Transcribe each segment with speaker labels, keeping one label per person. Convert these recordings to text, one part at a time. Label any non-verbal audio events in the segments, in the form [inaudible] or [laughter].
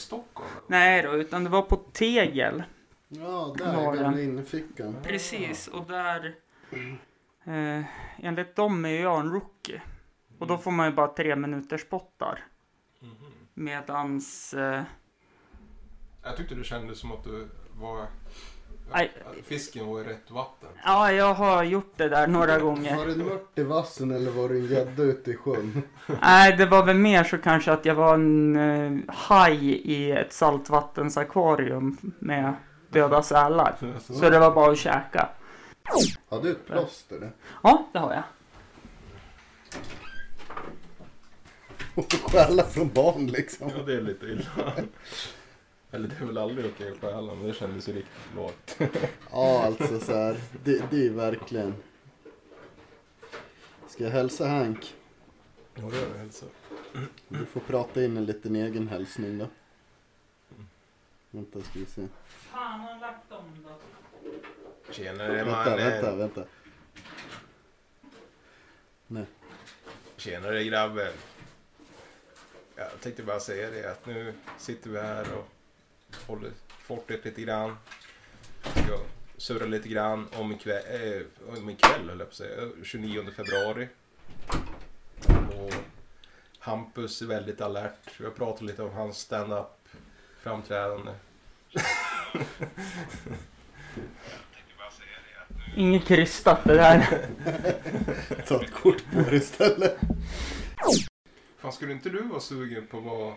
Speaker 1: Stockholm?
Speaker 2: Nej då, utan det var på Tegel.
Speaker 3: Ja, där
Speaker 2: Var
Speaker 3: i
Speaker 2: den.
Speaker 3: gamla innerfickan.
Speaker 2: Precis, och där... Eh, enligt dem är ju jag en rookie. Och då får man ju bara tre minuters spottar.
Speaker 1: Mhm.
Speaker 2: Medans... Eh,
Speaker 1: Jag tyckte du kände som att du var...
Speaker 2: Nej.
Speaker 1: att Fisken var i rätt vatten.
Speaker 2: ja, jag har gjort det där några gånger.
Speaker 3: Var det en mört i vassen eller var det en gädda ute i sjön?
Speaker 2: Nej, det var väl mer så kanske att jag var en eh, haj i ett saltvattensakvarium med döda sälar. Så det var bara att käka.
Speaker 3: Har du ett plåster? där?
Speaker 2: Ja, det har jag.
Speaker 3: Och stjäla från barn liksom.
Speaker 1: Ja, det är lite illa. Eller det är väl aldrig okej att stjäla, men det kändes ju riktigt lågt.
Speaker 3: Ja, alltså så här. Det, det är verkligen. Ska jag hälsa Hank?
Speaker 1: Ja, det alltså. är det. Så.
Speaker 3: Du får prata in en liten egen hälsning då. Vänta ska vi se.
Speaker 2: Fan, har lagt om då?
Speaker 1: Tjenare
Speaker 3: Vänta,
Speaker 1: eh,
Speaker 3: vänta, vänta.
Speaker 1: Tjenare grabben! Jag tänkte bara säga det att nu sitter vi här och håller fortet lite grann. Ska surra lite grann om ikväll, eh, om ikväll höll jag på att säga, eh, 29 februari. Och Hampus är väldigt alert. Jag pratade lite om hans stand-up framträdande.
Speaker 2: Inget krystat det där.
Speaker 3: Ta ett kort på det istället.
Speaker 1: Fan, skulle inte du vara sugen på att vara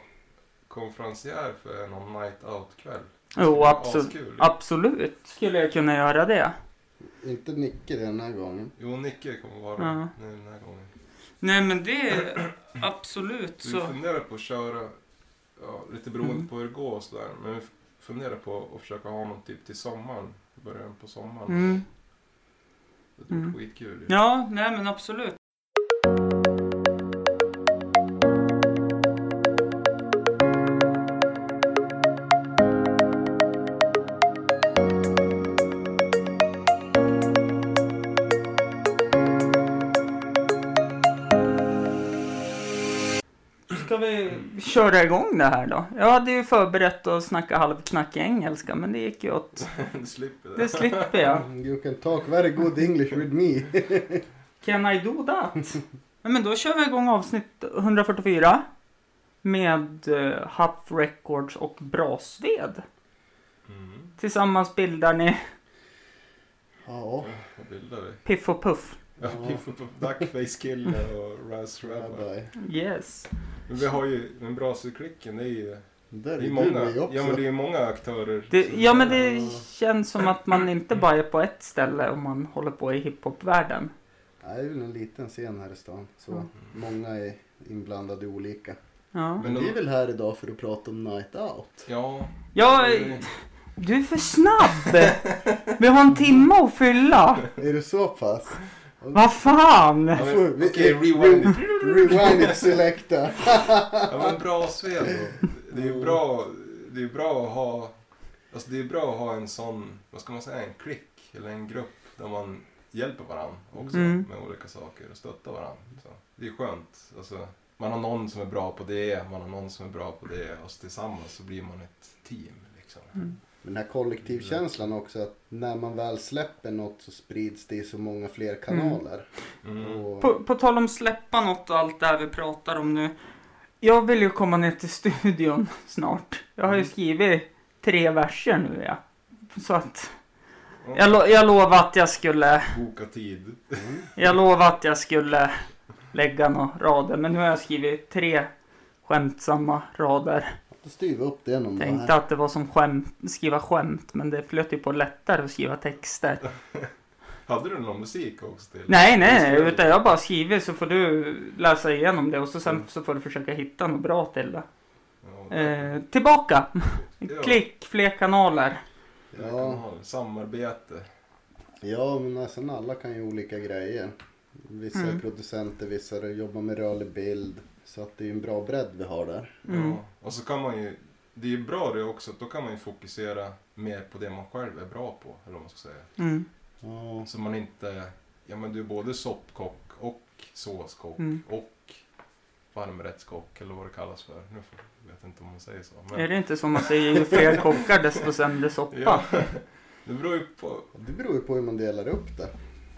Speaker 1: konferencier för någon night out-kväll?
Speaker 2: Jo, absolut.
Speaker 1: Askul.
Speaker 2: Absolut skulle jag kunna göra det.
Speaker 3: Inte Nicke den här gången.
Speaker 1: Jo, Nicke kommer vara
Speaker 2: Ja.
Speaker 1: nu den här gången.
Speaker 2: Nej, men det är absolut
Speaker 1: Vi
Speaker 2: så. Mm.
Speaker 1: funderar på att köra, ja, lite beroende på hur det går och sådär, men vi funderar på att försöka ha någon typ till sommaren, i början på sommaren.
Speaker 2: Mm.
Speaker 1: Det vore
Speaker 2: Mm.
Speaker 1: skitkul [laughs] ju.
Speaker 2: Ja, nej men absolut. Ska vi köra igång det här då? Jag hade ju förberett att snacka halvknackig engelska men det gick ju åt...
Speaker 1: Du slipper det.
Speaker 2: Det slipper jag.
Speaker 3: You can talk very good English with me. [laughs]
Speaker 2: Can I do that? [laughs] ja, men då kör vi igång avsnitt 144 med uh, Huff Records och Brasved.
Speaker 1: Mm.
Speaker 2: Tillsammans bildar ni
Speaker 3: Ja,
Speaker 1: Vad bildar vi?
Speaker 2: Piff och Puff.
Speaker 1: Ja, [laughs] vi får på Duckface Killer och Raz Rabba.
Speaker 3: rabbi.
Speaker 2: Yes.
Speaker 1: Men vi har ju, men Braserklicken det är ju,
Speaker 3: Där
Speaker 1: det
Speaker 3: är
Speaker 1: är
Speaker 3: du
Speaker 1: ju
Speaker 3: många.
Speaker 1: många,
Speaker 3: med också.
Speaker 1: ja men det är ju många aktörer.
Speaker 2: Det,
Speaker 1: som-
Speaker 2: ja men det känns som att man inte bara är på ett ställe om man håller på i hiphopvärlden.
Speaker 3: Nej, det är väl en liten scen här i stan. Så
Speaker 2: Mm.
Speaker 3: många är inblandade i olika.
Speaker 2: Ja.
Speaker 3: Men
Speaker 1: Men de-
Speaker 3: vi är väl här idag för att prata om Night Out.
Speaker 1: Ja.
Speaker 2: ja, eh, du är för snabb! Vi har en timme att fylla!
Speaker 3: Är det så pass?
Speaker 2: Vad fan!
Speaker 1: Ja,
Speaker 3: Får
Speaker 1: men-
Speaker 3: vi-
Speaker 1: Okej, rewind it.
Speaker 3: Rewind it selecta.
Speaker 1: Ja men bra Sven då. Det är ju bra, det är bra att ha, alltså det är bra att ha en sån, vad ska man säga, en klick eller en grupp där man hjälper varandra också
Speaker 2: Mm.
Speaker 1: med olika saker och stöttar varandra. Så det är skönt. Alltså, man har någon som är bra på det, man har någon som är bra på det och så tillsammans så blir man ett team liksom.
Speaker 2: Mm.
Speaker 3: Den här kollektivkänslan också att när man väl släpper något så sprids det i så många fler kanaler.
Speaker 1: Mm.
Speaker 3: Och,
Speaker 2: På, på tal om släppa något och allt det här vi pratar om nu. Jag vill ju komma ner till studion [laughs] snart. Jag har ju skrivit tre verser nu ja. Så att jag, lo- jag lovade att jag skulle,
Speaker 1: Boka tid.
Speaker 2: jag lovade att jag skulle lägga några rader. Men nu har jag skrivit tre skämtsamma rader.
Speaker 3: då styr vi upp det någon dag
Speaker 2: Tänkte
Speaker 3: här.
Speaker 2: att det var som skämt, skriva skämt men det flöt ju på lättare att skriva texter.
Speaker 1: Hade du någon musik också till?
Speaker 2: Nej, nej, nej, utan jag har bara skrivit så får du läsa igenom det och så sen
Speaker 1: Mm.
Speaker 2: så får du försöka hitta något bra till det.
Speaker 1: Ja,
Speaker 2: Eh, tillbaka!
Speaker 1: Ja.
Speaker 2: Eh, Klick, fler kanaler.
Speaker 1: det kan man
Speaker 3: Ja,
Speaker 1: ha. Samarbete.
Speaker 3: ja, men nästan alla kan ju olika grejer. Vissa är
Speaker 2: Mm.
Speaker 3: producenter, vissa jobbar med rörlig bild. Så att det är ju en bra bredd vi har där.
Speaker 2: Mm.
Speaker 1: Ja, och så kan man ju, det är ju bra det också, att då kan man ju fokusera mer på det man själv är bra på, eller vad man ska säga.
Speaker 2: Mm.
Speaker 3: Ja,
Speaker 1: Så man inte, ja men du är både soppkock och såskock
Speaker 2: Mm.
Speaker 1: och varmrättskock eller vad det kallas för. Nu får- jag vet inte om man säger så.
Speaker 2: Är det inte som man säger, ju fler kockar desto sämre
Speaker 1: [laughs]
Speaker 2: soppa?
Speaker 1: ja, det beror ju på.
Speaker 3: Det beror ju på hur man delar upp det.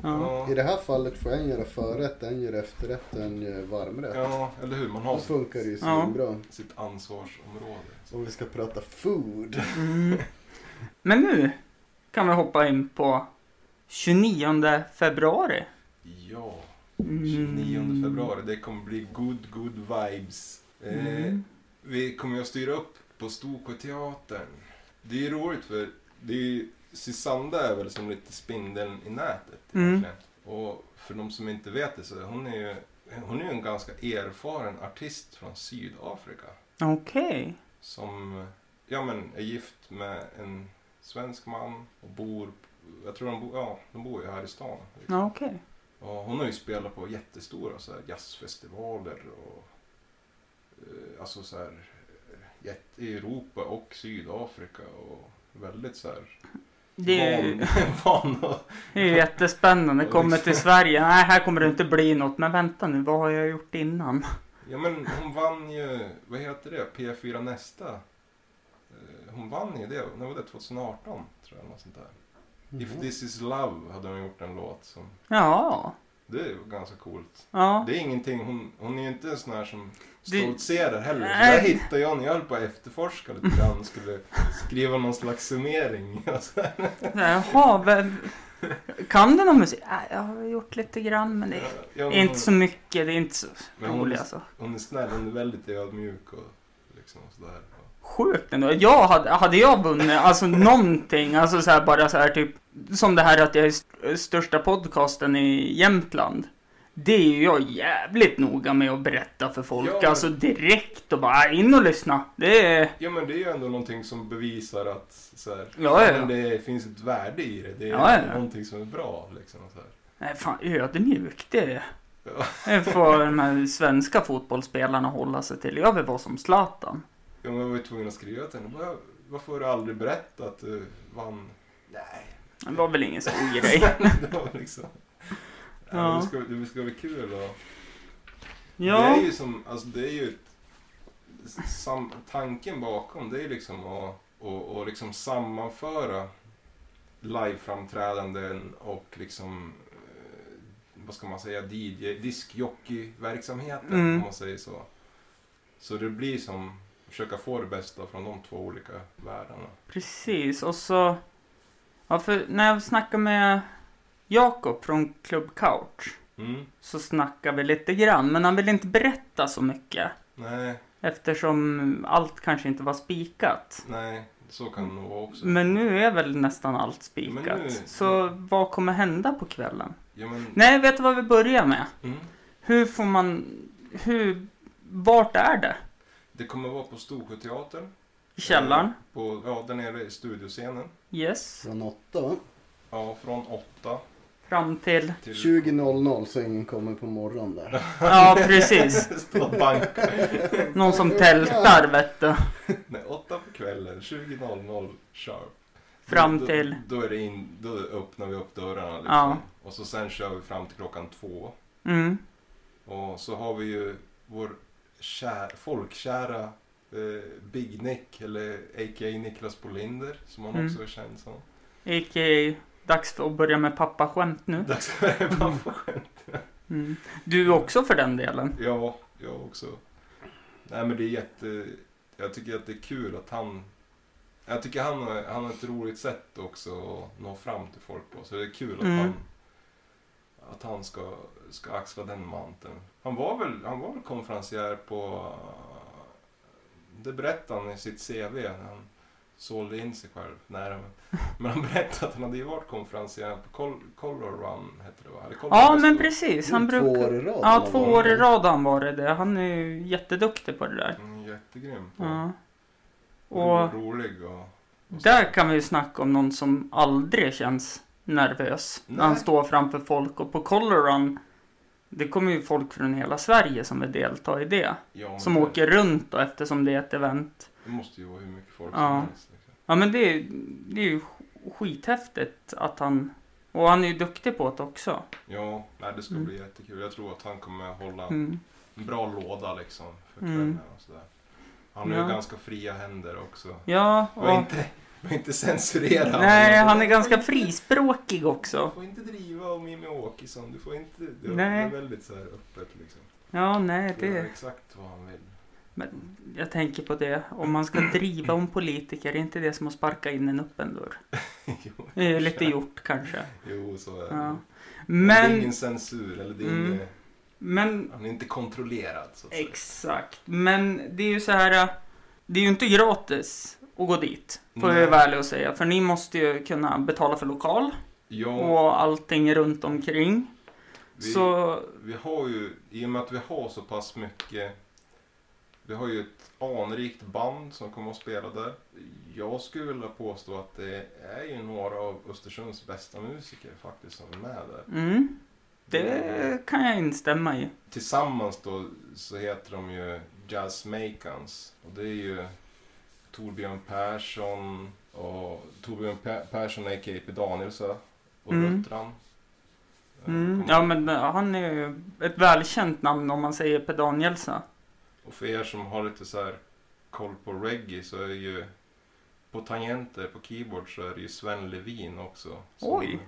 Speaker 2: Ja.
Speaker 1: Ja,
Speaker 3: I det här fallet får en göra förrätt, en gör efterrätt och en gör varmrätt.
Speaker 1: ja, eller hur? Man har
Speaker 3: Då
Speaker 1: sitt,
Speaker 3: funkar det ju
Speaker 2: Ja.
Speaker 3: svinbra.
Speaker 1: sitt ansvarsområde.
Speaker 3: Om vi ska prata
Speaker 1: [laughs]
Speaker 3: food.
Speaker 2: Mm. Men nu kan vi hoppa in på 29 februari.
Speaker 1: Ja,
Speaker 2: Mm.
Speaker 1: 29 februari. Det kommer bli good, good vibes. Eh,
Speaker 2: Mm.
Speaker 1: Vi kommer ju att styra upp på Storsjöteatern. Det är ju roligt för det är ju, Sysanda är väl som lite spindeln i nätet
Speaker 2: Mm.
Speaker 1: egentligen. Och för de som inte vet det så hon är ju hon är ju en ganska erfaren artist från Sydafrika.
Speaker 2: Okej.
Speaker 1: Som ja, men, är gift med en svensk man och bor, jag tror de, bo, ja, de bor ju här i stan.
Speaker 2: Ja, okej.
Speaker 1: Ja, hon har ju spelat på jättestora så här, jazzfestivaler och eh, alltså så här, eh, jätte- i Europa och Sydafrika och väldigt så här
Speaker 2: Det är ju
Speaker 1: van, [laughs] van och,
Speaker 2: det är ju jättespännande. Kommer till Sverige. Nej, här kommer det inte bli något. Men vänta nu, vad har jag gjort innan?
Speaker 1: Ja men hon vann ju, vad heter det, P4 Nästa. Eh, Hon vann ju det, när var det? 2018 tror jag, något sånt där.
Speaker 3: Mhm.
Speaker 1: If this is love hade hon gjort en låt som,
Speaker 2: Ja.
Speaker 1: det är ju ganska coolt.
Speaker 2: Ja.
Speaker 1: Det är ingenting, hon, hon är ju inte en sån här som
Speaker 2: Det-
Speaker 1: stoltserar heller. Så
Speaker 2: Nej.
Speaker 1: där hittade jag när jag höll på att efterforska lite grann. Skulle skriva någon slags summering. [laughs] Alltså,
Speaker 2: Jaha, vem... Kan du någon musik? Nej, jag har gjort lite grann men det är
Speaker 1: ja, men
Speaker 2: inte så mycket. Det är inte så
Speaker 1: Men hon-
Speaker 2: roligt alltså.
Speaker 1: Hon är snäll, hon är väldigt ödmjuk och liksom sådär.
Speaker 2: Sjukt ändå. Jag hade, hade jag vunnit alltså någonting, alltså så här bara så här typ som det här att jag är st- största podcasten i Jämtland. Det är ju jag jävligt noga med att berätta för folk,
Speaker 1: Ja.
Speaker 2: alltså direkt och bara "Ah, in och lyssna. Det är...
Speaker 1: Ja men det är ju ändå någonting som bevisar att så här,
Speaker 2: Ja, ja, ja.
Speaker 1: men det finns ett värde i det. Det är
Speaker 2: Ja, ja, ja.
Speaker 1: någonting som är bra liksom. Så här.
Speaker 2: Nej, fan ödmjuk det är.
Speaker 1: Ja.
Speaker 2: Det får de här svenska fotbollsspelarna hålla sig till. Jag vill vara som Zlatan.
Speaker 1: Ja, men jag var ju tvungen att skriva till henne. "Var- Varför har du aldrig berättat att du vann? Nej.
Speaker 2: Det var
Speaker 1: [laughs]
Speaker 2: väl ingen stor grej.
Speaker 1: det var liksom... Ja. men
Speaker 2: Ja.
Speaker 1: det, ska, det ska bli kul och... Det är
Speaker 2: Ja,
Speaker 1: ju som, alltså det är ju ett, sam, tanken bakom det är ju liksom att och, och liksom sammanföra liveframträdanden och liksom eh, vad ska man säga, DJ, diskjockeyverksamheten
Speaker 2: Mm.
Speaker 1: om man säger så. Så det blir som försöka få det bästa från de två olika världarna.
Speaker 2: precis. Och så... Ja, för när jag snackade med Jakob från Club Couch.
Speaker 1: Mm.
Speaker 2: så snackar vi lite grann. Men han vill inte berätta så mycket.
Speaker 1: Nej,
Speaker 2: Eftersom allt kanske inte var spikat.
Speaker 1: nej, så kan det nog vara också.
Speaker 2: Men nu är väl nästan allt
Speaker 1: Men nu-
Speaker 2: spikat. Så vad kommer hända på kvällen?
Speaker 1: Ja, men,
Speaker 2: Nej, vet du vad vi börjar med?
Speaker 1: Mm.
Speaker 2: Hur får man... Hur... Vart är det?
Speaker 1: Det kommer vara på Storsjöteatern.
Speaker 2: I källaren?
Speaker 1: På, ja, där nere i studioscenen.
Speaker 2: Yes.
Speaker 3: Från åtta va?
Speaker 1: Ja, från 8
Speaker 2: Fram till...
Speaker 1: till...
Speaker 3: 20.00 så ingen kommer på morgonen där.
Speaker 2: Ja, precis.
Speaker 1: Stå och banka.
Speaker 2: Någon som tältar, vet du.
Speaker 1: Nej, 8 på kvällen, 20.00 sharp.
Speaker 2: Fram
Speaker 1: Då-
Speaker 2: till-
Speaker 1: Då, då, är det in, då öppnar vi upp dörrarna liksom.
Speaker 2: Ja.
Speaker 1: Och så sen kör vi fram till klockan två.
Speaker 2: Mm.
Speaker 1: Och så har vi ju vår kär, folkkära eh, Big Nick, eller a.k.a. Niklas Bolinder, som han
Speaker 2: Mm.
Speaker 1: också är känd som.
Speaker 2: A.k.a. dags för att börja med pappaskämt nu.
Speaker 1: Dags för
Speaker 2: [laughs]
Speaker 1: pappaskämt.
Speaker 2: Mm. Du också för den delen.
Speaker 1: Ja, jag också. Nej men det är jätte... Jag tycker att det är kul att han... Jag tycker han har, han har ett roligt sätt också att nå fram till folk på. Så det är kul att
Speaker 2: Mm.
Speaker 1: han... Att han ska, ska axla den manteln. Han var väl, han var väl konferencier på... Det berättade han i sitt CV när han sålde in sig själv. Nej, men, men han berättade att han hade ju varit konferencier på Col- Color Run, heter det va? Eller Color
Speaker 2: Ja,
Speaker 1: Run
Speaker 2: men
Speaker 1: School.
Speaker 2: precis. Han
Speaker 3: Två
Speaker 2: brukar...
Speaker 3: år i rad.
Speaker 2: Ja, två år i
Speaker 3: Mm.
Speaker 2: rad har han varit det. Han är ju jätteduktig på det där.
Speaker 1: Han är Jättegrym på.
Speaker 2: Ja.
Speaker 1: Och
Speaker 2: Och
Speaker 1: rolig och... och
Speaker 2: där kan vi ju snacka om någon som aldrig känns nervös när han
Speaker 1: Nej.
Speaker 2: står framför folk. Och på Color Run, det kommer ju folk från hela Sverige som vill delta i det.
Speaker 1: Ja, men
Speaker 2: Som
Speaker 1: det,
Speaker 2: åker runt då eftersom det är ett event.
Speaker 1: Det måste ju vara hur mycket folk
Speaker 2: Ja.
Speaker 1: som helst. Liksom.
Speaker 2: Ja, men det är, det är ju sk- skithäftigt att han... Och han är ju duktig på det också.
Speaker 1: Ja, nej, det ska
Speaker 2: Mm.
Speaker 1: bli jättekul. Jag tror att han kommer hålla
Speaker 2: Mm.
Speaker 1: en bra låda liksom för
Speaker 2: Mm.
Speaker 1: kvällen och sådär. Han har
Speaker 2: Ja.
Speaker 1: ju ganska fria händer också.
Speaker 2: Ja,
Speaker 1: Var
Speaker 2: och...
Speaker 1: inte, var inte censurerad.
Speaker 2: Nej, han är ganska frispråkig också.
Speaker 1: Du får inte driva om Jimmie Åkesson. Du får inte... Det
Speaker 2: Nej.
Speaker 1: är väldigt så här öppet liksom.
Speaker 2: Ja, nej,
Speaker 1: Det är
Speaker 2: det...
Speaker 1: exakt vad han vill. [laughs]
Speaker 2: Men jag tänker på det, om man ska driva om politiker, är inte det som att sparka in en öppen dörr?
Speaker 1: jo,
Speaker 2: Det är ju lite gjort kanske.
Speaker 1: jo, så är det.
Speaker 2: Ja.
Speaker 1: Men det är
Speaker 2: Men,
Speaker 1: ingen censur. Eller det är
Speaker 2: Mm.
Speaker 1: inget,
Speaker 2: men
Speaker 1: han är inte kontrollerad så att säga.
Speaker 2: Exakt. Men det är ju så här. Det är ju inte gratis att gå dit. Får
Speaker 1: Nej.
Speaker 2: jag vara ärlig och säga. För ni måste ju kunna betala för lokal
Speaker 1: Ja,
Speaker 2: och allting runt omkring.
Speaker 1: vi,
Speaker 2: Så
Speaker 1: vi har ju, i och med att vi har så pass mycket, vi har ju ett anrikt band som kommer att spela där. Jag skulle vilja påstå att det är ju några av Östersunds bästa musiker faktiskt som är med där.
Speaker 2: mm, det kan jag instämma i.
Speaker 1: Tillsammans då så heter de ju Jazzmakans. Och det är ju Torbjörn Persson och Torbjörn Pe- Persson a.k.a. P. Danielsson och
Speaker 2: Mm.
Speaker 1: Ruttran.
Speaker 2: Mm.
Speaker 1: Kommer-
Speaker 2: Ja men eh, han är ju ett välkänt namn om man säger Per Danielsen.
Speaker 1: Och för er som har lite så här koll på reggae så är ju på tangenter på keyboard så är det ju Sven Levin också. som-
Speaker 2: Oj.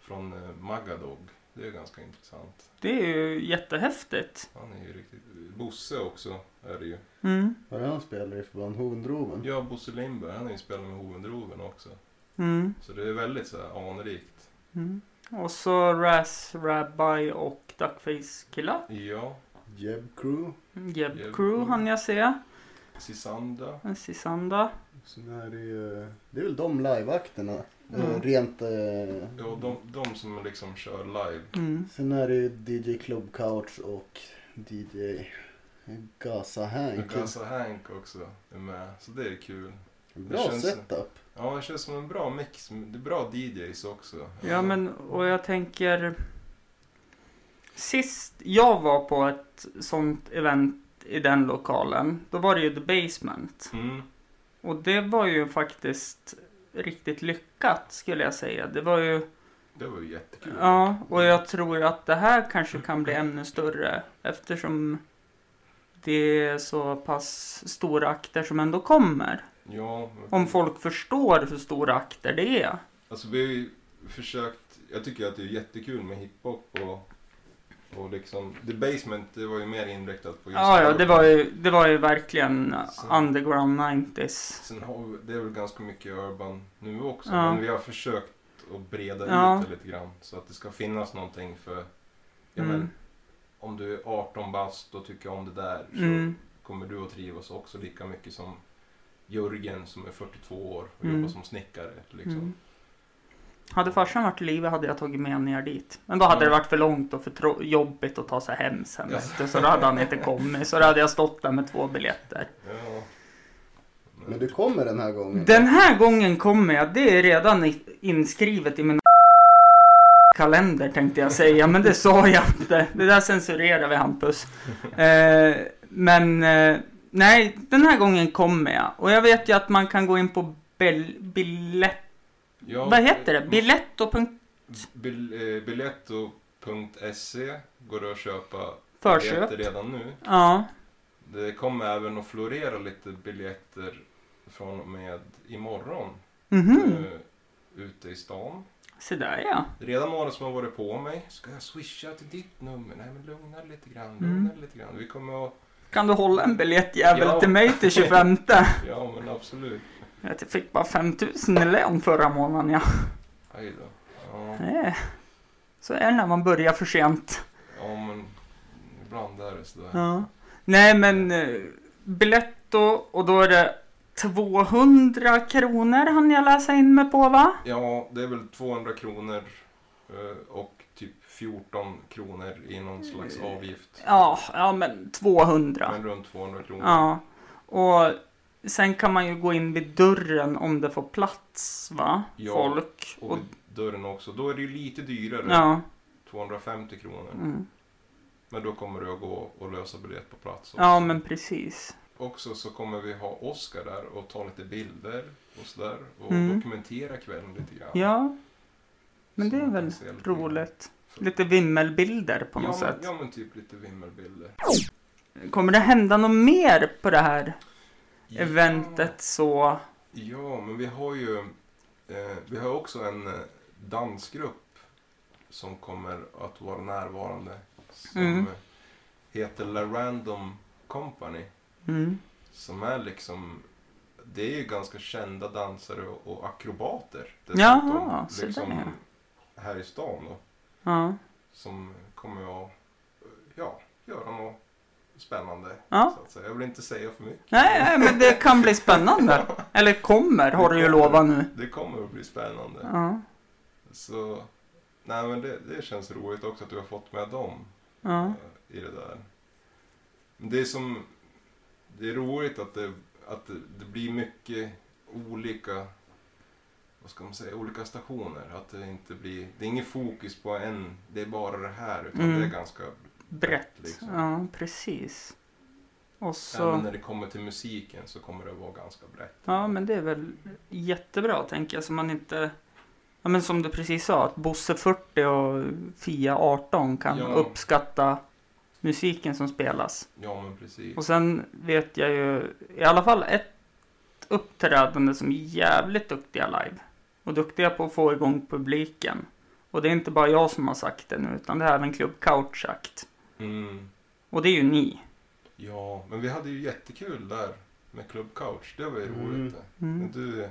Speaker 1: Från eh, Magadog. Det är ganska intressant.
Speaker 2: Det är ju jättehäftigt.
Speaker 1: Han är ju riktigt... Bosse också är det ju.
Speaker 2: Mm.
Speaker 3: Vad är det han spelar i för band? Hovendroven?
Speaker 1: Ja, Bosse Lindberg. Han är ju spelare med Hovendroven också.
Speaker 2: Mm.
Speaker 1: Så det är väldigt så här anrikt.
Speaker 2: Mm. Och så Raz, Rabbi och Duckface Killa.
Speaker 1: Ja,
Speaker 3: Jeb Crew.
Speaker 2: Jeb
Speaker 1: Jeb
Speaker 2: Crew
Speaker 1: Crew.
Speaker 2: hann jag se.
Speaker 1: Sisanda.
Speaker 2: Sisanda.
Speaker 3: Sen är det
Speaker 1: eh,
Speaker 3: ju... Det är väl de liveakterna.
Speaker 2: Mm.
Speaker 3: Eh, Rent... eh,
Speaker 1: Ja, de, de som liksom kör live.
Speaker 2: Mm.
Speaker 3: Sen är det ju DJ Club Couch och DJ Gaza Hank.
Speaker 1: Gaza Hank också är med. Så det är kul.
Speaker 3: Bra
Speaker 1: känns-
Speaker 3: setup.
Speaker 1: Ja, det känns som en bra mix. Det är bra DJs också.
Speaker 2: Ja men och jag tänker Sist jag var på ett sånt event i den lokalen Då var det ju The Basement
Speaker 1: Mm.
Speaker 2: Och det var ju faktiskt riktigt lyckat skulle jag säga Det var ju
Speaker 1: Det var ju jättekul.
Speaker 2: Ja och jag tror att det här kanske kan bli ännu större Eftersom Det är så pass stora akter som ändå kommer
Speaker 1: ja men-
Speaker 2: Om folk förstår hur stora akter det är
Speaker 1: Alltså vi har ju försökt, jag tycker att det är jättekul med hiphop och, och liksom, The Basement det var ju mer inriktat på just Alltså.
Speaker 2: Ja, Ah, ja,
Speaker 1: urban.
Speaker 2: det var ju, det var ju verkligen
Speaker 1: Så.
Speaker 2: underground 90s.
Speaker 1: Sen har vi, det är väl ganska mycket urban nu också,
Speaker 2: Ja.
Speaker 1: men vi har försökt att breda
Speaker 2: Ja.
Speaker 1: ut det lite grann så att det ska finnas någonting för, ja
Speaker 2: Mm.
Speaker 1: men om du är 18 bast och tycker om det där så
Speaker 2: Mm,
Speaker 1: kommer du att trivas också lika mycket som Jörgen som är 42 år och
Speaker 2: Mm.
Speaker 1: jobbar som snickare liksom.
Speaker 2: mm. Hade farsan varit i livet hade jag tagit med honom ner dit. Men då hade
Speaker 1: Mm.
Speaker 2: det varit för långt och för tro- jobbigt att ta sig hem sen.
Speaker 1: Ja.
Speaker 2: vet du. Så då hade han inte kommit. Så då hade jag stått där med två biljetter.
Speaker 1: Ja. Men-
Speaker 3: Men du kommer den här gången.
Speaker 2: Den här gången kommer jag. Det är redan i- inskrivet i min kalender tänkte jag säga. Men det sa jag inte. Det där censurerar vi Hampus. Eh, men eh, nej, den här gången kommer jag. Och jag vet ju att man kan gå in på bel- biljett...
Speaker 1: Ja,
Speaker 2: Vad heter det?
Speaker 1: eh,
Speaker 2: Biletto.com
Speaker 1: Bil, eh, Biletto.se E går det att köpa
Speaker 2: Förköp.
Speaker 1: biljetter redan nu.
Speaker 2: Ja.
Speaker 1: Det kommer även att florera lite biljetter från och med imorgon
Speaker 2: Mhm.
Speaker 1: eh, ute i stan.
Speaker 2: Se där ja.
Speaker 1: Det är redan några som har varit på mig. Ska jag swisha till ditt nummer? Nej men lugna dig lite grann,
Speaker 2: Mm.
Speaker 1: lugna dig lite grann. Vi kommer att...
Speaker 2: Kan du hålla en biljettjävel
Speaker 1: Ja.
Speaker 2: till mig till 25?
Speaker 1: Ja men absolut.
Speaker 2: jag vet, jag fick bara 5000 i lön förra månaden ja.
Speaker 1: Aj då. Ja,
Speaker 2: Eh, Så är det när man börjar för sent.
Speaker 1: ja men ibland är det sådär.
Speaker 2: Ja. Nej men eh, Biletto och då är det 200 kronor hann jag läsa in mig på va?
Speaker 1: Ja, det är väl 200 kronor eh, och typ 14 kronor i någon
Speaker 2: Mm.
Speaker 1: slags avgift.
Speaker 2: Ja, ja men 200.
Speaker 1: Men runt 200 kronor.
Speaker 2: Ja. Och sen kan man ju gå in vid dörren om det får plats va?
Speaker 1: Ja.
Speaker 2: Folk.
Speaker 1: Och vid dörren också. Då är det ju lite dyrare.
Speaker 2: ja.
Speaker 1: 250 kronor.
Speaker 2: Mm.
Speaker 1: Men då kommer du att gå och lösa biljett på plats också.
Speaker 2: ja men precis.
Speaker 1: Också så kommer vi ha Oscar där och ta lite bilder och sådär. Och
Speaker 2: Mm.
Speaker 1: dokumentera kvällen lite grann.
Speaker 2: Ja. Men
Speaker 1: Så
Speaker 2: det är
Speaker 1: man kan
Speaker 2: väl
Speaker 1: se lite grann.
Speaker 2: roligt. Lite vimmelbilder på något
Speaker 1: ja, men,
Speaker 2: sätt.
Speaker 1: ja men typ lite vimmelbilder.
Speaker 2: Kommer det hända något mer på det här eventet så?
Speaker 1: Ja, men vi har ju eh, vi har också en eh, dansgrupp som kommer att vara närvarande. Som
Speaker 2: Mm.
Speaker 1: eh, heter La Random Company.
Speaker 2: Mm.
Speaker 1: Som är liksom det är ju ganska kända dansare och, och akrobater liksom
Speaker 2: Jaha, så där,
Speaker 1: här i stan då.
Speaker 2: Ja.
Speaker 1: Som kommer att ja, göra något spännande.
Speaker 2: Ja.
Speaker 1: Så att säga. Jag vill inte säga för mycket.
Speaker 2: Nej, nej, men det kan
Speaker 1: [laughs]
Speaker 2: bli spännande. Eller kommer, har du ju lovat nu.
Speaker 1: Det kommer att bli spännande.
Speaker 2: Ja.
Speaker 1: Så nej men det, det känns roligt också att du har fått med dem
Speaker 2: Ja.
Speaker 1: eh, i det där. Men det är som det är roligt att det, att det, det blir mycket olika vad ska man säga, olika stationer. Att det inte blir, det är ingen fokus på en, det är bara det här. Utan
Speaker 2: Mm.
Speaker 1: det är ganska,
Speaker 2: Brett.
Speaker 1: Liksom.
Speaker 2: Ja, precis. Och
Speaker 1: även
Speaker 2: så.
Speaker 1: när det kommer till musiken så kommer det vara ganska brett.
Speaker 2: Ja, men det är väl jättebra tänker jag. Så man inte. Ja, men som du precis sa, att Bosse 40 och Fia 18 kan
Speaker 1: Ja.
Speaker 2: uppskatta musiken som spelas.
Speaker 1: Ja men precis.
Speaker 2: Och sen vet jag ju i alla fall ett uppträdande som är jävligt duktiga live. Och duktiga på att få igång publiken. Och det är inte bara jag som har sagt det nu utan det har även Club Couch sagt.
Speaker 1: Mm.
Speaker 2: Och det är ju ni.
Speaker 1: Ja, men vi hade ju jättekul där med Club Couch. Det var ju
Speaker 3: Mm.
Speaker 1: roligt det. Men
Speaker 2: Mm.
Speaker 1: Du,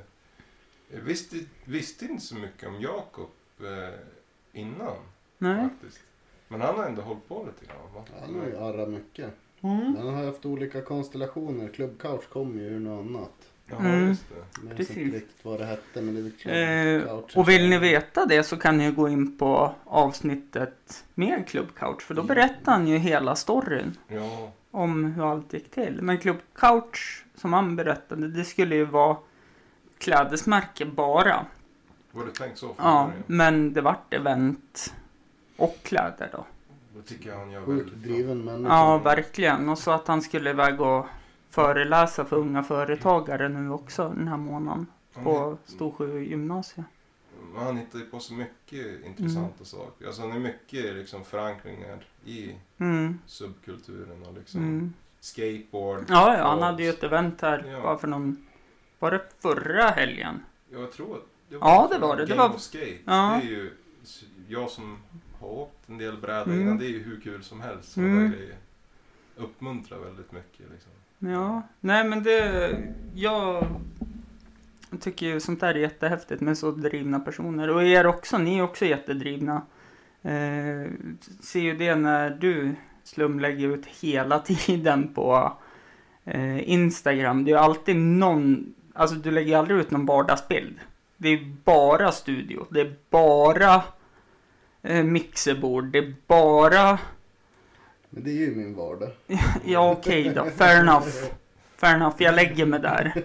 Speaker 1: jag visste, visste inte så mycket om Jakob eh, innan
Speaker 2: Nej.
Speaker 1: faktiskt. Men han har ändå hållit på lite grann va?
Speaker 3: Han har ju arrat mycket.
Speaker 2: Mm.
Speaker 3: Han har ju haft olika konstellationer. Club Couch kom ju ur något annat.
Speaker 1: Ja,
Speaker 2: Mm.
Speaker 1: just det.
Speaker 3: Jag minns
Speaker 2: Precis.
Speaker 3: inte riktigt vad det hette men det är väl Club
Speaker 2: Eh,
Speaker 3: Couch.
Speaker 2: och vill ni veta det så kan ni gå in på avsnittet med Club Couch för då berättar han ju hela storyn
Speaker 1: Ja,
Speaker 2: om hur allt gick till. Men Club Couch som han berättade det skulle ju vara klädesmärke bara.
Speaker 1: var det tänkt så från
Speaker 2: Ja,
Speaker 1: början?
Speaker 2: men det vart event och kläder då.
Speaker 1: Det tycker jag han gör
Speaker 3: Sjukt
Speaker 1: väldigt bra.
Speaker 3: driven människa.
Speaker 2: Ja, verkligen. Och så att han skulle iväg och föreläsa för unga företagare nu också den här månaden
Speaker 1: Han,
Speaker 2: på Storsjö gymnasium.
Speaker 1: hitt- han hittar ju på så mycket intressanta saker. Alltså han är mycket liksom förankringar i
Speaker 2: Mm,
Speaker 1: subkulturen och liksom
Speaker 2: mm.
Speaker 1: skateboard.
Speaker 2: Ja, ja, han hade ju ett event här
Speaker 1: Ja.
Speaker 2: bara för någon... Var det förra helgen?
Speaker 1: Jag tror att det
Speaker 2: Ja, det var det. Det
Speaker 1: Game
Speaker 2: var-
Speaker 1: of Skate.
Speaker 2: Ja.
Speaker 1: Det är ju, jag som har åkt en del brädor
Speaker 2: Mm.
Speaker 1: innan, det är ju hur kul som helst. sådana
Speaker 2: Mm.
Speaker 1: där grejer. Uppmuntrar väldigt mycket liksom.
Speaker 2: Ja, nej men det... Jag tycker ju sånt där är jättehäftigt med så drivna personer. Och er också, ni är också jättedrivna. Eh, ser ju det när du Slum lägger ut hela [laughs] tiden på eh, Instagram. Det är ju alltid någon... Alltså du lägger aldrig ut någon vardagsbild. Det är bara studio. Det är bara eh, mixerbord. Det är bara...
Speaker 3: Men det är ju min vardag.
Speaker 2: Ja okej då, fair enough. Fair enough, jag lägger mig där.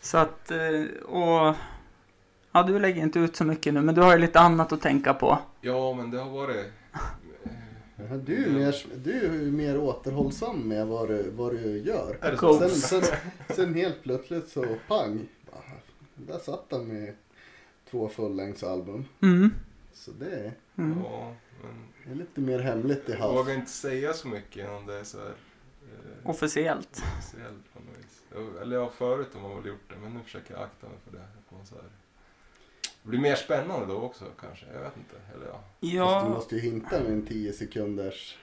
Speaker 2: Så att, eh, och... Ja, du lägger inte ut så mycket nu, men du har ju lite annat att tänka på.
Speaker 1: Ja, men det har varit...
Speaker 3: Ja, Du är, mer, du är ju mer återhållsam med vad du, vad du gör.
Speaker 1: Är det
Speaker 2: Cool.
Speaker 1: så?
Speaker 3: Sen, sen, sen helt plötsligt så pang. bara, Där satt han med två fullängdsalbum.
Speaker 2: Mm.
Speaker 3: Så det är,
Speaker 2: Mm.
Speaker 1: Ja, men...
Speaker 3: är lite mer hemligt i
Speaker 1: Jag
Speaker 3: havs.
Speaker 1: vågar inte säga så mycket innan det är så här...
Speaker 2: Oh.
Speaker 1: Eh,
Speaker 2: Officiellt.
Speaker 1: officiellt på något vis. Jag- Eller ja, förut har man väl gjort det, men nu försöker jag akta mig för det. Att man så här... Det blir mer spännande då också kanske, jag vet inte. Eller ja.
Speaker 3: Fast du
Speaker 2: Ja,
Speaker 3: måste ju hinta med en 10 sekunders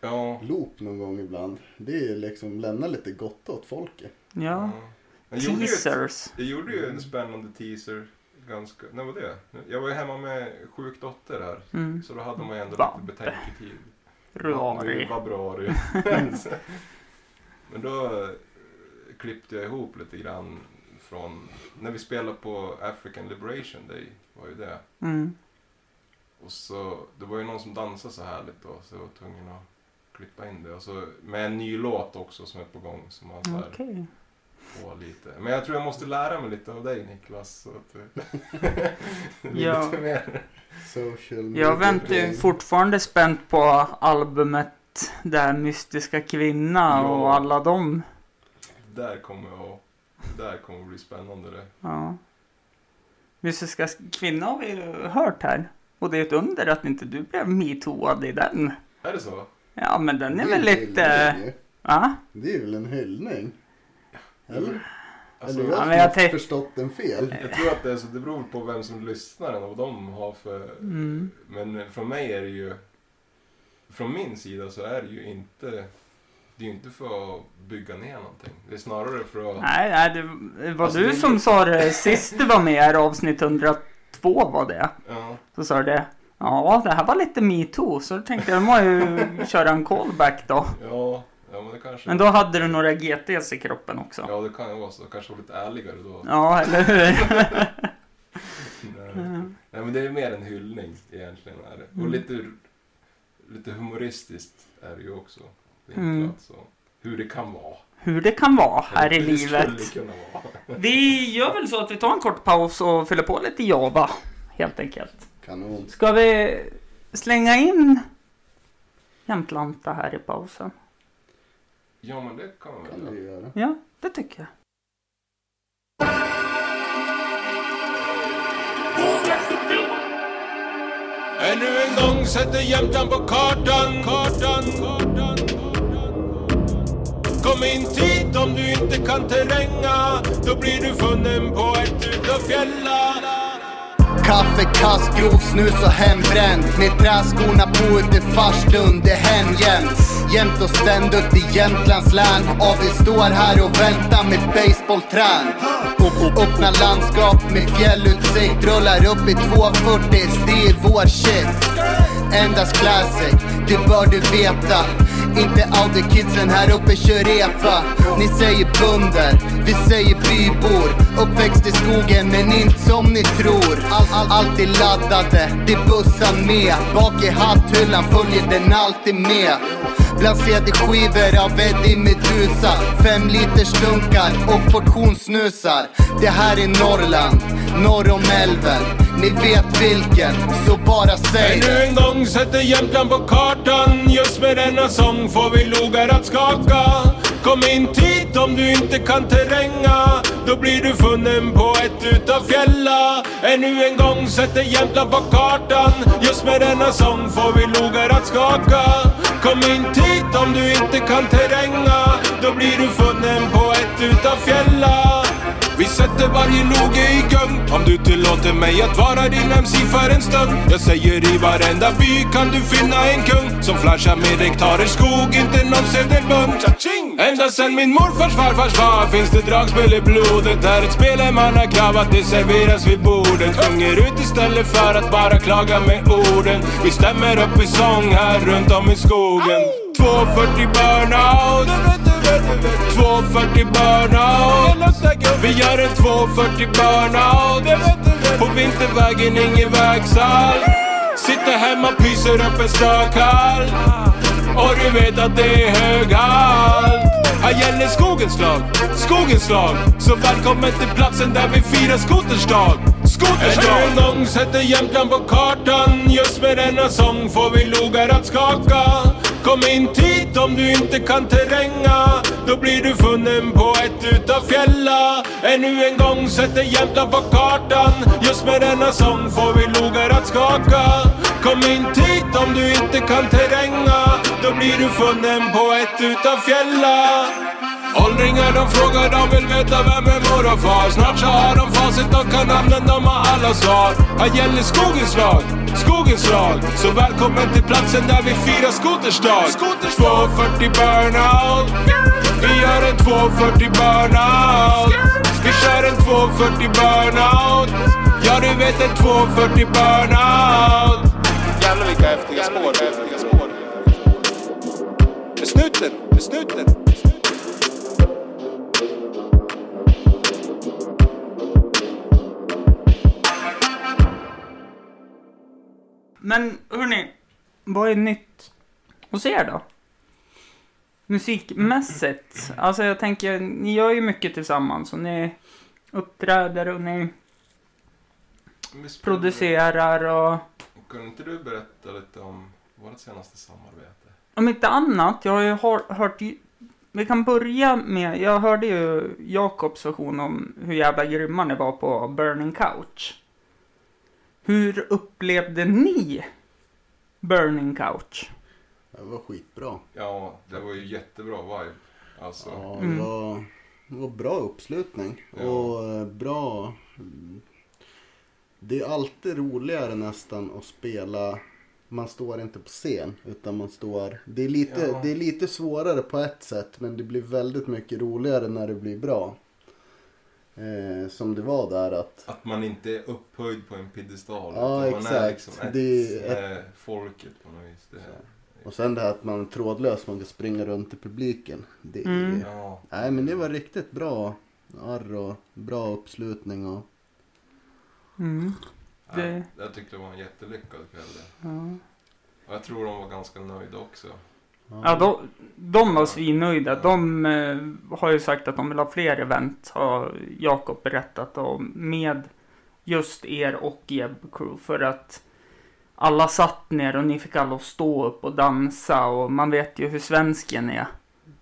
Speaker 1: Ja.
Speaker 3: loop någon gång ibland. Det är ju liksom lämna lite gott åt folket.
Speaker 2: ja.
Speaker 1: Jag gjorde ju ett-
Speaker 2: Teasers.
Speaker 1: Jag gjorde ju en spännande teaser ganska... När var det? Jag var ju hemma med sjuk dotter här.
Speaker 2: Mm.
Speaker 1: Så då hade man ju ändå
Speaker 2: Babbe.
Speaker 1: lite betänketid.
Speaker 2: Ruari.
Speaker 1: Februari. Men då eh, klippte jag ihop lite grann från... När vi spelade på African Liberation Day var ju det.
Speaker 2: Mm.
Speaker 1: Och så, det var ju någon som dansade så härligt då så jag var tvungen att klippa in det. Och så med en ny låt också som är på gång som man så här
Speaker 2: Okej.
Speaker 1: på lite. Men jag tror jag måste lära mig lite av dig Niklas. Så att,
Speaker 2: [laughs]
Speaker 4: [laughs]
Speaker 1: eh, det blir
Speaker 2: Ja.
Speaker 1: lite mer.
Speaker 3: Social media.
Speaker 2: Jag väntar ju fortfarande spänt på albumet där Mystiska Kvinna och
Speaker 1: Ja.
Speaker 2: alla dem.
Speaker 1: Där kommer jag där kommer det bli spännande det.
Speaker 2: Ja. Mystiska Kvinna har vi ju hört här. Och det är ett under att inte du blev metooad i den.
Speaker 4: Är det så?
Speaker 2: Ja, men den är
Speaker 3: Det
Speaker 2: väl
Speaker 3: en
Speaker 2: lite...
Speaker 3: hyllning ju.
Speaker 2: Va?
Speaker 3: Det är väl en hyllning? Eller?
Speaker 4: Alltså,
Speaker 3: Eller
Speaker 4: jag,
Speaker 2: ja, men
Speaker 3: jag som
Speaker 2: jag
Speaker 3: har
Speaker 2: tänk-
Speaker 3: förstått den fel.
Speaker 4: jag tror att det, är så, det beror på vem som lyssnar och vad de har för...
Speaker 2: Mm.
Speaker 4: Men från mig är det ju... Från min sida så är det ju inte... Det är ju inte för att bygga ner någonting. Det är snarare för att...
Speaker 2: Nej, nej, det det var
Speaker 4: Alltså,
Speaker 2: du
Speaker 4: det-
Speaker 2: som sa det sist du var med här, avsnitt 102 var det.
Speaker 4: Ja,
Speaker 2: Så sa du det. Ja, det här var lite metoo, så då tänkte jag, då må jag
Speaker 4: [laughs]
Speaker 2: ju köra en callback då.
Speaker 4: ja, ja men det kanske...
Speaker 2: Men då hade du några GTs i kroppen också.
Speaker 4: Ja, det kan ju vara så. Kanske vara lite ärligare då.
Speaker 2: Ja, eller hur? [laughs]
Speaker 4: Nej. Nej, men det är mer en hyllning egentligen. Är det. Och
Speaker 2: Mm.
Speaker 4: lite, lite humoristiskt är det ju också. Det är inte
Speaker 2: Mm.
Speaker 4: klart, så. Hur det kan vara.
Speaker 2: Hur det kan vara här i
Speaker 4: Eller hur Det
Speaker 2: livet.
Speaker 4: skulle kunna vara.
Speaker 2: Vi gör väl så att vi tar en kort paus och fyller på lite Java, helt enkelt.
Speaker 3: Kanon.
Speaker 2: Ska vi slänga in Jämtlanta här i pausen?
Speaker 4: Ja, men det kan man
Speaker 3: kan
Speaker 4: väl
Speaker 3: du
Speaker 4: göra.
Speaker 3: ju göra.
Speaker 2: Ja, det tycker jag.
Speaker 1: Ännu en gång sätter Jämtland på kartan, kartan, kartan. Kom inte hit om du inte kan terränga, då blir du funnen på ett utav fjällar.
Speaker 5: Kaffe, kask, grov snus och hembränd Med träskorna på ut i Farstund, det är hemjämt Jämt och ständigt i Jämtlands län Ja, vi står här och väntar med basebollträn Upp och öppna landskap med fjällutsikt Rullar upp i 240, det är vår shit Endast classic, det bör du veta Inte Audi kidsen här uppe kör repa Ni säger bunder, vi säger bybor Uppväxt i skogen men inte som ni tror all, all, Alltid laddade, det bussar med Bak i hatthyllan följer den alltid med Bland CD-skivor av Eddie Meduza Fem liters dunkar och portionssnusar Det här är Norrland, norr om älven Ni vet vilken, så bara säg det
Speaker 1: Ännu en gång sätter Jämtland på kartan Just med denna sång får vi logar att skaka Kom inte hit om du inte kan terränga Då blir du funnen på ett utav fjälla Ännu en gång sätter Jämtland på kartan Just med denna sång får vi logar att skaka Kom inte hit om du inte kan terränga Då blir du funnen på ett utav fjälla vi sätter varje loge i gung Om du tillåter mig att vara din MC för en stund Jag säger i varenda by kan du finna en kung Som flashar med hektarer skog, inte någon sedelbunt Ända sen min morfars farfars far finns det dragspel i blodet Här ett spel man har kravat, det serveras vid bordet Sjunger ut istället för att bara klaga med orden Vi stämmer upp i sång här runt om i skogen 240 burnout 240 burnout Vi gör en 240 burnout På vintervägen ingen vägsalt Sitter hemma pyser upp en stökall Och du vet att det är hög halt Här gäller skogens lag, skogens lag Så välkommen till platsen där vi firar skoters dag Skoters dag! Ännu en gång sätter Jämtland på kartan Just med denna sång får vi logar att skaka Kom inte hit om du inte kan terränga Då blir du funnen på ett utav fjälla Ännu en gång sätter Jämtland på kartan Just med denna sång får vi logar att skaka Kom inte hit om du inte kan terränga Då blir du funnen på ett utav fjälla Åldringar de frågar, de vill veta vem är mor och far Snart så har de facit, de kan namnen, de har alla svar Här gäller skogens lag, skogens lag Så välkommen till platsen där vi firar skoters dag 240 burnout Vi gör en 240 burnout Vi kör en 240 burnout Ja du vet en 240 burnout Jävlar vilka häftiga spår, häftiga spår Med snuten, med snuten
Speaker 2: Men hörni, vad är nytt hos er då? Musikmässigt. Alltså jag tänker, ni gör ju mycket tillsammans och ni uppträder och ni
Speaker 4: Men vi spelar-
Speaker 2: producerar och
Speaker 4: Kunde inte du berätta lite om vårt senaste samarbete?
Speaker 2: om inte annat, jag har ju hör- hört ju- vi kan börja med, jag hörde ju Jakobs version om hur jävla grymma ni var på Burning Couch. Hur upplevde ni Burning Couch?
Speaker 3: Det var skitbra.
Speaker 1: Ja, det var ju jättebra vibe. Alltså,
Speaker 3: Ja,
Speaker 2: Mm.
Speaker 3: det, var, det var bra uppslutning
Speaker 1: Ja.
Speaker 3: och eh, bra... mm, Det är alltid roligare nästan att spela... Man står inte på scen utan man står... Det är, lite,
Speaker 1: Ja.
Speaker 3: det är lite svårare på ett sätt men det blir väldigt mycket roligare när det blir bra. Eh, som det var där att...
Speaker 1: att man inte är upphöjd på en piedestal.
Speaker 3: Ja,
Speaker 1: utan Man är
Speaker 3: exakt.
Speaker 1: liksom ett,
Speaker 3: Det
Speaker 1: eh, folket på något vis. Det,
Speaker 3: Så. Och sen det här att man är trådlös, man kan springa runt i publiken. Det,
Speaker 2: Mm.
Speaker 1: ja.
Speaker 3: Nej men det var riktigt bra arr och bra uppslutning och...
Speaker 2: Mm.
Speaker 1: Det...
Speaker 2: Det-
Speaker 1: Jag tyckte det var en jättelyckad kväll. där.
Speaker 2: Ja.
Speaker 1: Och jag tror de var ganska nöjda också.
Speaker 2: Ja, de, de var svinnöjda. De eh, har ju sagt att de vill ha fler event, har Jakob berättat om, med just er och Jeb Crew. För att alla satt ner och ni fick alla att stå upp och dansa och man vet ju hur svensken är.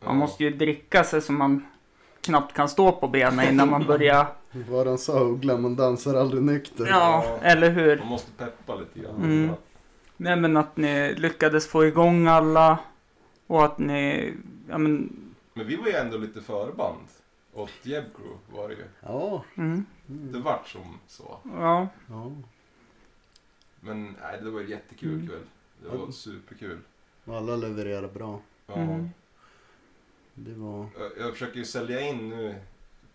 Speaker 2: Man måste ju dricka sig så man knappt kan stå på benen innan man börjar.
Speaker 3: Vad de sa Uggla, man dansar aldrig nykter.
Speaker 2: Ja, eller hur?
Speaker 1: Man måste peppa lite grann.
Speaker 2: Mm. Nej men att ni lyckades få igång alla och att ni, ja men,
Speaker 1: Men vi var ju ändå lite förband åt Jeb Crew var det ju.
Speaker 3: Ja.
Speaker 2: mm,
Speaker 1: Det vart som så.
Speaker 2: ja.
Speaker 3: ja.
Speaker 1: Men nej, det var en jättekul
Speaker 2: Mm.
Speaker 1: kväll. Det var superkul.
Speaker 3: Och alla levererar bra.
Speaker 1: Ja.
Speaker 2: Mm.
Speaker 3: Det var...
Speaker 1: Jag, jag försöker ju sälja in nu.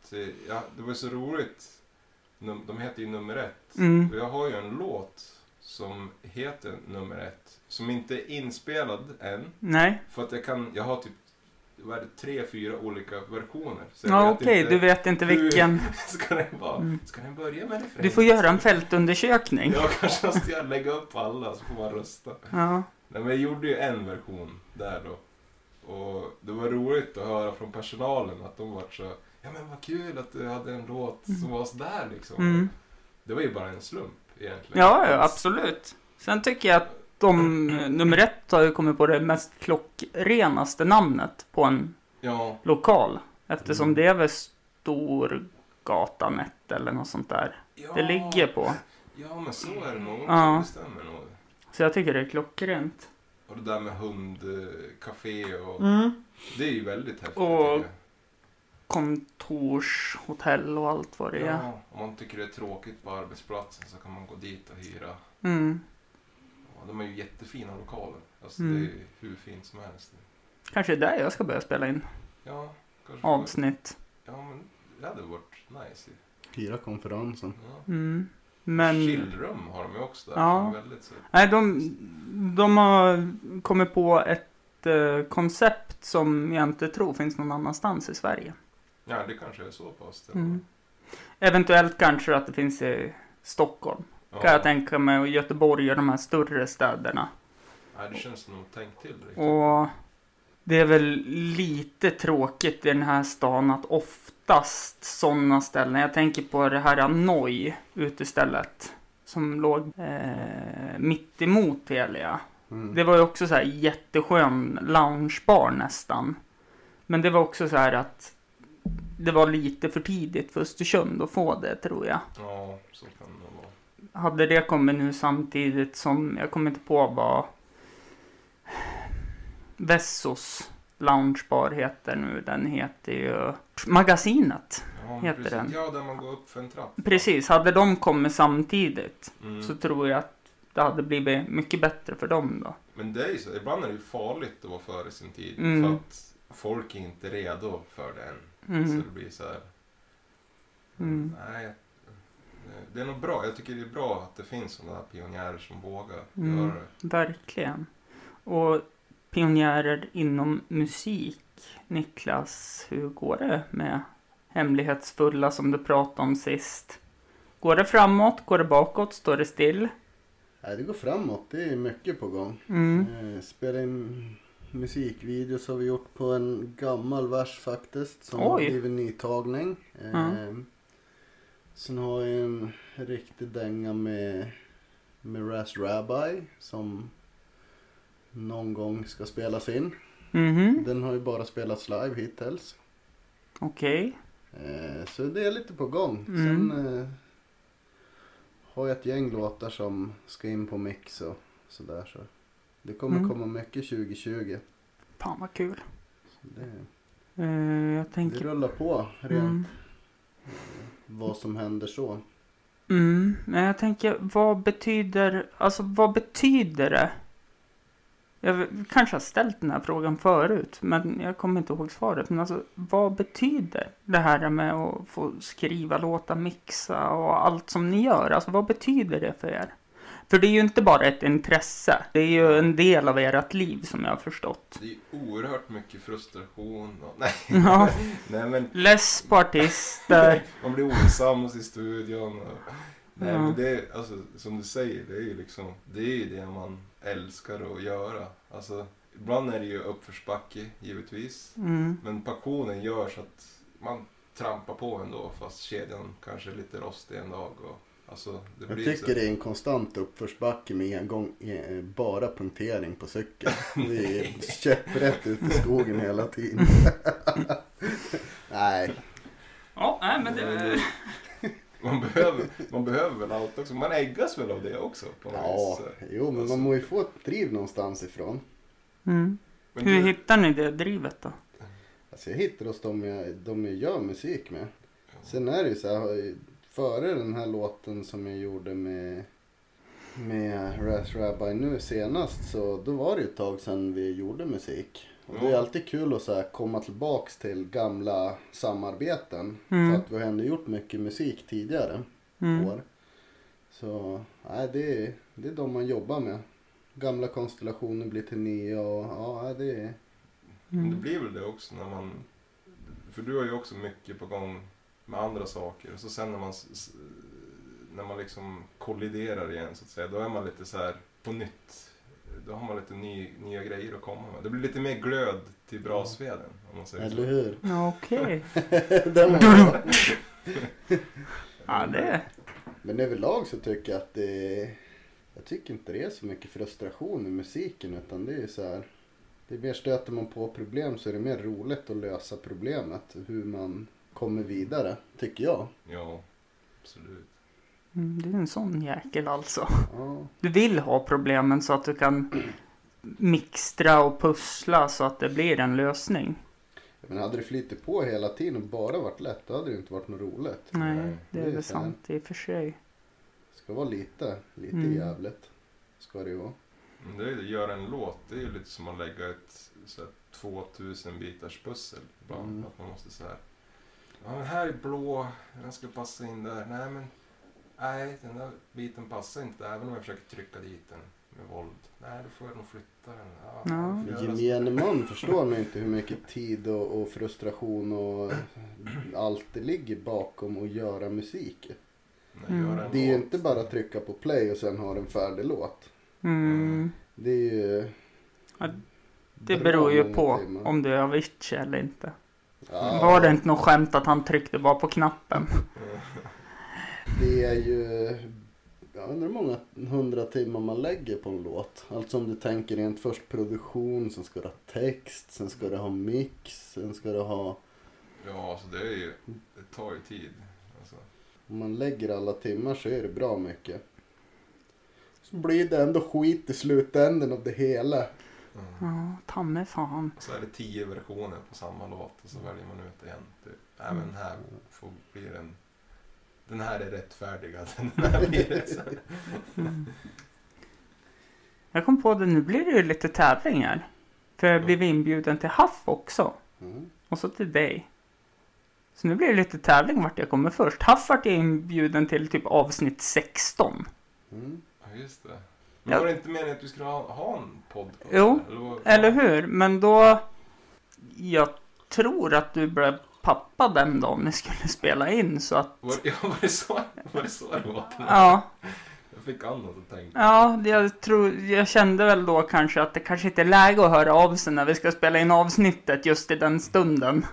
Speaker 1: Till, ja, det var ju så roligt. Num, de heter ju nummer ett.
Speaker 2: Mm.
Speaker 1: Och jag har ju en låt som heter nummer ett. Som inte är inspelad än.
Speaker 2: Nej.
Speaker 1: För att jag kan, jag har typ vad är det, tre, fyra olika versioner. Så jag
Speaker 2: Ja
Speaker 1: vet
Speaker 2: okej,
Speaker 1: inte-
Speaker 2: du vet inte
Speaker 1: hur-
Speaker 2: vilken.
Speaker 1: [laughs] Ska den, vara,
Speaker 2: Mm.
Speaker 1: ska den börja med refräng?
Speaker 2: Du får göra en [laughs] fältundersökning.
Speaker 1: Jag kanske måste jag lägga upp alla så får man rösta.
Speaker 2: Ja.
Speaker 1: Nej men jag gjorde ju en version där då. Och det var roligt att höra från personalen att de var så Ja men vad kul att du hade en låt som var sådär liksom.
Speaker 2: Mm.
Speaker 1: Det var ju bara en slump egentligen.
Speaker 2: Ja, ja, absolut. Sen tycker jag att de, nummer ett har ju kommit på det mest klockrenaste namnet på en
Speaker 1: Ja,
Speaker 2: lokal. Eftersom
Speaker 1: Mm.
Speaker 2: det är väl Storgatan 1 eller något sånt där
Speaker 1: ja,
Speaker 2: det ligger på.
Speaker 1: Ja men så är det nog också.
Speaker 2: Ja.
Speaker 1: Det stämmer nog.
Speaker 2: Så jag tycker det är klockrent.
Speaker 1: Och det där med hundcafé och det är ju väldigt häftigt.
Speaker 2: Mm. Och-
Speaker 1: tycker
Speaker 2: Kontorshotell och allt vad
Speaker 1: jag.
Speaker 2: det är.
Speaker 1: Ja, om man tycker det är tråkigt på arbetsplatsen så kan man gå dit och hyra.
Speaker 2: Mm.
Speaker 1: Ja, de är ju jättefina lokaler. Alltså
Speaker 2: Mm.
Speaker 1: det är ju hur fint som helst.
Speaker 2: Kanske det är där jag ska börja spela in
Speaker 1: Ja, kanske.
Speaker 2: avsnitt.
Speaker 1: Ja, men det hade varit nice. ju.
Speaker 3: Hyra konferensen.
Speaker 1: Ja.
Speaker 2: Mm. Men...
Speaker 1: Chillrum har de ju också där.
Speaker 2: Ja.
Speaker 1: som är Väldigt så.
Speaker 2: Nej, de, de har kommit på ett eh, koncept som jag inte tror finns någon annanstans i Sverige.
Speaker 1: Ja, det kanske är så pass. det.
Speaker 2: Mm. Eventuellt kanske att det finns i Stockholm,
Speaker 1: Ja.
Speaker 2: kan jag tänka mig, och Göteborg och de här större städerna.
Speaker 1: Nej, det känns nog tänkt till riktigt.
Speaker 2: Och det är väl lite tråkigt i den här stan att oftast sådana ställen, jag tänker på det här Noi utestället som låg eh, mitt emot Telia.
Speaker 3: Mm.
Speaker 2: Det var ju också så här jätteskön loungebar nästan. Men det var också så här att det var lite för tidigt för Östersund att få det tror jag.
Speaker 1: Ja, så kan det nog vara.
Speaker 2: Hade det kommit nu samtidigt som, jag kommer inte på vad Vessos loungebar heter nu. Den heter ju Magasinet.
Speaker 1: Ja, men
Speaker 2: Heter
Speaker 1: precis.
Speaker 2: den?
Speaker 1: Ja, där man går upp för en trappa.
Speaker 2: Precis, hade de kommit samtidigt
Speaker 1: Mm.
Speaker 2: så tror jag att det hade blivit mycket bättre för dem då.
Speaker 1: Men det är ju så. Ibland är det ju farligt att vara före sin tid.
Speaker 2: Mm.
Speaker 1: För att folk är inte redo för det än. Så
Speaker 2: Mm.
Speaker 1: det blir så här.
Speaker 2: Mm.
Speaker 1: Nej, eh, det är nog bra. Jag tycker det är bra att det finns sådana här pionjärer som vågar
Speaker 2: Mm.
Speaker 1: göra det.
Speaker 2: Verkligen. Och pionjärer inom musik. Niklas, hur går det med hemlighetsfulla som du pratade om sist? Går det framåt? Går det bakåt? Står det still?
Speaker 3: Nej, det går framåt, det är mycket på gång.
Speaker 2: Mm.
Speaker 3: Eh, Spela in musikvideos har vi gjort på en gammal vers faktiskt som har
Speaker 2: Oj.
Speaker 3: blivit nytagning. Eh, Sen har jag en riktig dänga med, med Raz Rabbi som någon gång ska spelas in.
Speaker 2: Mhm.
Speaker 3: Den har ju bara spelats live hittills.
Speaker 2: Okej.
Speaker 3: Eh, Så det är lite på gång.
Speaker 2: Mm.
Speaker 3: Sen eh, har ju ett gäng låtar som ska in på mix och sådär. Så det kommer
Speaker 2: Mm.
Speaker 3: komma mycket 2020.
Speaker 2: Fan vad kul.
Speaker 3: Det,
Speaker 2: Eh, jag
Speaker 3: det
Speaker 2: tänker...
Speaker 3: rullar på rent
Speaker 2: Mm.
Speaker 3: vad som händer så.
Speaker 2: Mm. Men jag tänker, vad betyder... Alltså vad betyder det? Jag v- kanske har ställt den här frågan förut, men jag kommer inte ihåg svaret. Men alltså, vad betyder det här med att få skriva låtar, mixa och allt som ni gör? Alltså, vad betyder det för er? För det är ju inte bara ett intresse. Det är ju en del av ert liv som jag
Speaker 1: [laughs]
Speaker 2: har förstått.
Speaker 1: Det är ju oerhört mycket frustration. Och... [laughs] Nej,
Speaker 2: Ja.
Speaker 1: nej men
Speaker 2: Less
Speaker 1: [laughs]
Speaker 2: på artister.
Speaker 1: man blir osams i studion. Och... Nej
Speaker 2: Ja.
Speaker 1: men det är, alltså, som du säger, det är ju liksom, det är ju det man älskar att göra. Alltså, ibland är det ju uppförsbacke givetvis.
Speaker 2: Mm.
Speaker 1: Men passionen gör så att man trampar på ändå fast kedjan kanske är lite rostig en dag. Och, alltså, det
Speaker 3: Jag
Speaker 1: blir
Speaker 3: tycker
Speaker 1: så...
Speaker 3: det är en konstant uppförsbacke med engång, eh, bara punktering på cykeln. Det är käpprätt ut i skogen
Speaker 2: [laughs]
Speaker 3: hela tiden. Nej,
Speaker 2: Ja, nej, men det...
Speaker 1: [laughs] Man behöver, man behöver väl allt också. Man äggas väl av det också på något
Speaker 3: ja,
Speaker 1: vis.
Speaker 3: jo men man må ju få ett driv någonstans ifrån.
Speaker 2: Mm.
Speaker 1: Men
Speaker 2: Hur
Speaker 1: du-
Speaker 2: hittar ni det drivet då?
Speaker 3: Alltså jag hittar hos dem jag, de jag gör musik med. Sen är det ju så här, har jag- före den här låten som jag gjorde med, med Raz Rabbi nu senast så då var det ju ett tag sedan vi gjorde musik. Och det är
Speaker 1: Ja.
Speaker 3: alltid kul att så här komma tillbaks till gamla samarbeten.
Speaker 2: Mm.
Speaker 3: För att vi har ändå gjort mycket musik tidigare
Speaker 2: Mm.
Speaker 3: år. Så nej, det, är, det är de man jobbar med. Gamla konstellationer blir till nya och ja, nej, det är...
Speaker 1: Men det
Speaker 2: Mm.
Speaker 1: blir väl det också när man... För du har ju också mycket på gång med andra saker. Och så sen när man, s- s- när man liksom kolliderar igen så att säga. Då är man lite så här på nytt. Då har man lite ny, nya grejer att komma med. Det blir lite mer glöd till brasveden. Om man säger så.
Speaker 3: Eller hur? [laughs]
Speaker 2: Ja, Okej.
Speaker 3: Den var bra.
Speaker 2: Ja, det...
Speaker 3: Men överlag så tycker jag att det Jag tycker inte det är så mycket frustration i musiken utan det är så här Det är mer stöter man på problem så är det mer roligt att lösa problemet hur man kommer vidare tycker jag.
Speaker 1: Ja, absolut.
Speaker 2: Mm, Du är en sån jäkel alltså.
Speaker 3: Ja,
Speaker 2: Du vill ha problemen så att du kan mixtra och pussla så att det blir en lösning.
Speaker 3: men hade det flyttat på hela tiden och bara varit lätt då hade det inte varit något roligt.
Speaker 2: Nej, det
Speaker 3: det
Speaker 2: är
Speaker 3: är
Speaker 2: väl
Speaker 3: så här.
Speaker 2: sant i och för sig.
Speaker 3: Det ska vara lite, lite
Speaker 2: Mm.
Speaker 3: jävligt. Ska det ju vara.
Speaker 1: Men Mm, det är, göra en låt, det är ju lite som att lägga ett så här, 2000 bitars pussel ibland.
Speaker 3: Mm.
Speaker 1: Att man måste så här. Ja, men här är blå, den ska passa in där. Nej, men nej, den där biten passar inte. Även om jag försöker trycka dit den med våld. Nej, då får jag nog flytta den. Ja, alltså-
Speaker 2: Ja.
Speaker 1: jag får göra så.
Speaker 3: Gemene man förstår nog inte hur mycket tid och, och frustration och allt det ligger bakom att göra musik.
Speaker 1: Nej, göra en
Speaker 3: Mm. Det är ju
Speaker 1: låt.
Speaker 3: inte bara att trycka på play och sen ha en färdig låt.
Speaker 2: Mm.
Speaker 3: Det är ju...
Speaker 2: Ja, Det
Speaker 3: bra
Speaker 2: beror ju
Speaker 3: många
Speaker 2: på
Speaker 3: timmar.
Speaker 2: om du är Avicii eller inte.
Speaker 3: Ja,
Speaker 2: Var det inte något skämt att han tryckte bara på knappen?
Speaker 3: Det är ju... Jag undrar hur många hundra timmar man lägger på en låt. Alltså om du tänker rent först produktion, sen ska du ha text, sen ska du ha mix, sen ska du ha...
Speaker 1: Ja, alltså det är ju, det tar ju tid. Alltså.
Speaker 3: Om man lägger alla timmar så är det bra mycket. Så blir det ändå skit i slutändan av det hela. Mm.
Speaker 2: Ja, ta mig fan.
Speaker 1: Och så är det tio versioner på samma låt och så
Speaker 2: Mm.
Speaker 1: väljer man ut en. Typ. Nej, men den här får bli den. Den här är rättfärdigad. [laughs] Den här blir det. så här.
Speaker 2: Mm. Jag kom på det, nu blir det ju lite tävlingar. För jag blev inbjuden till Haff också.
Speaker 3: Mm.
Speaker 2: Och så till dig. Så nu blir det lite tävling vart jag kommer först. Haff vart jag inbjuden till typ avsnitt 16.
Speaker 3: Mm.
Speaker 1: Ja, just det. Men
Speaker 2: Ja.
Speaker 1: var det inte meningen att du skulle ha, ha en podcast?
Speaker 2: Jo,
Speaker 1: eller, vad-
Speaker 2: Eller hur? Men då... Jag tror att du blev pappa den dagen ni skulle spela in så att...
Speaker 1: Var, ja, var det så, var det, så det var?
Speaker 2: Ja,
Speaker 1: Jag fick annat att tänka.
Speaker 2: ja jag, tror, jag kände väl då kanske att det kanske inte är läge att höra av sig när vi ska spela in avsnittet just i den stunden.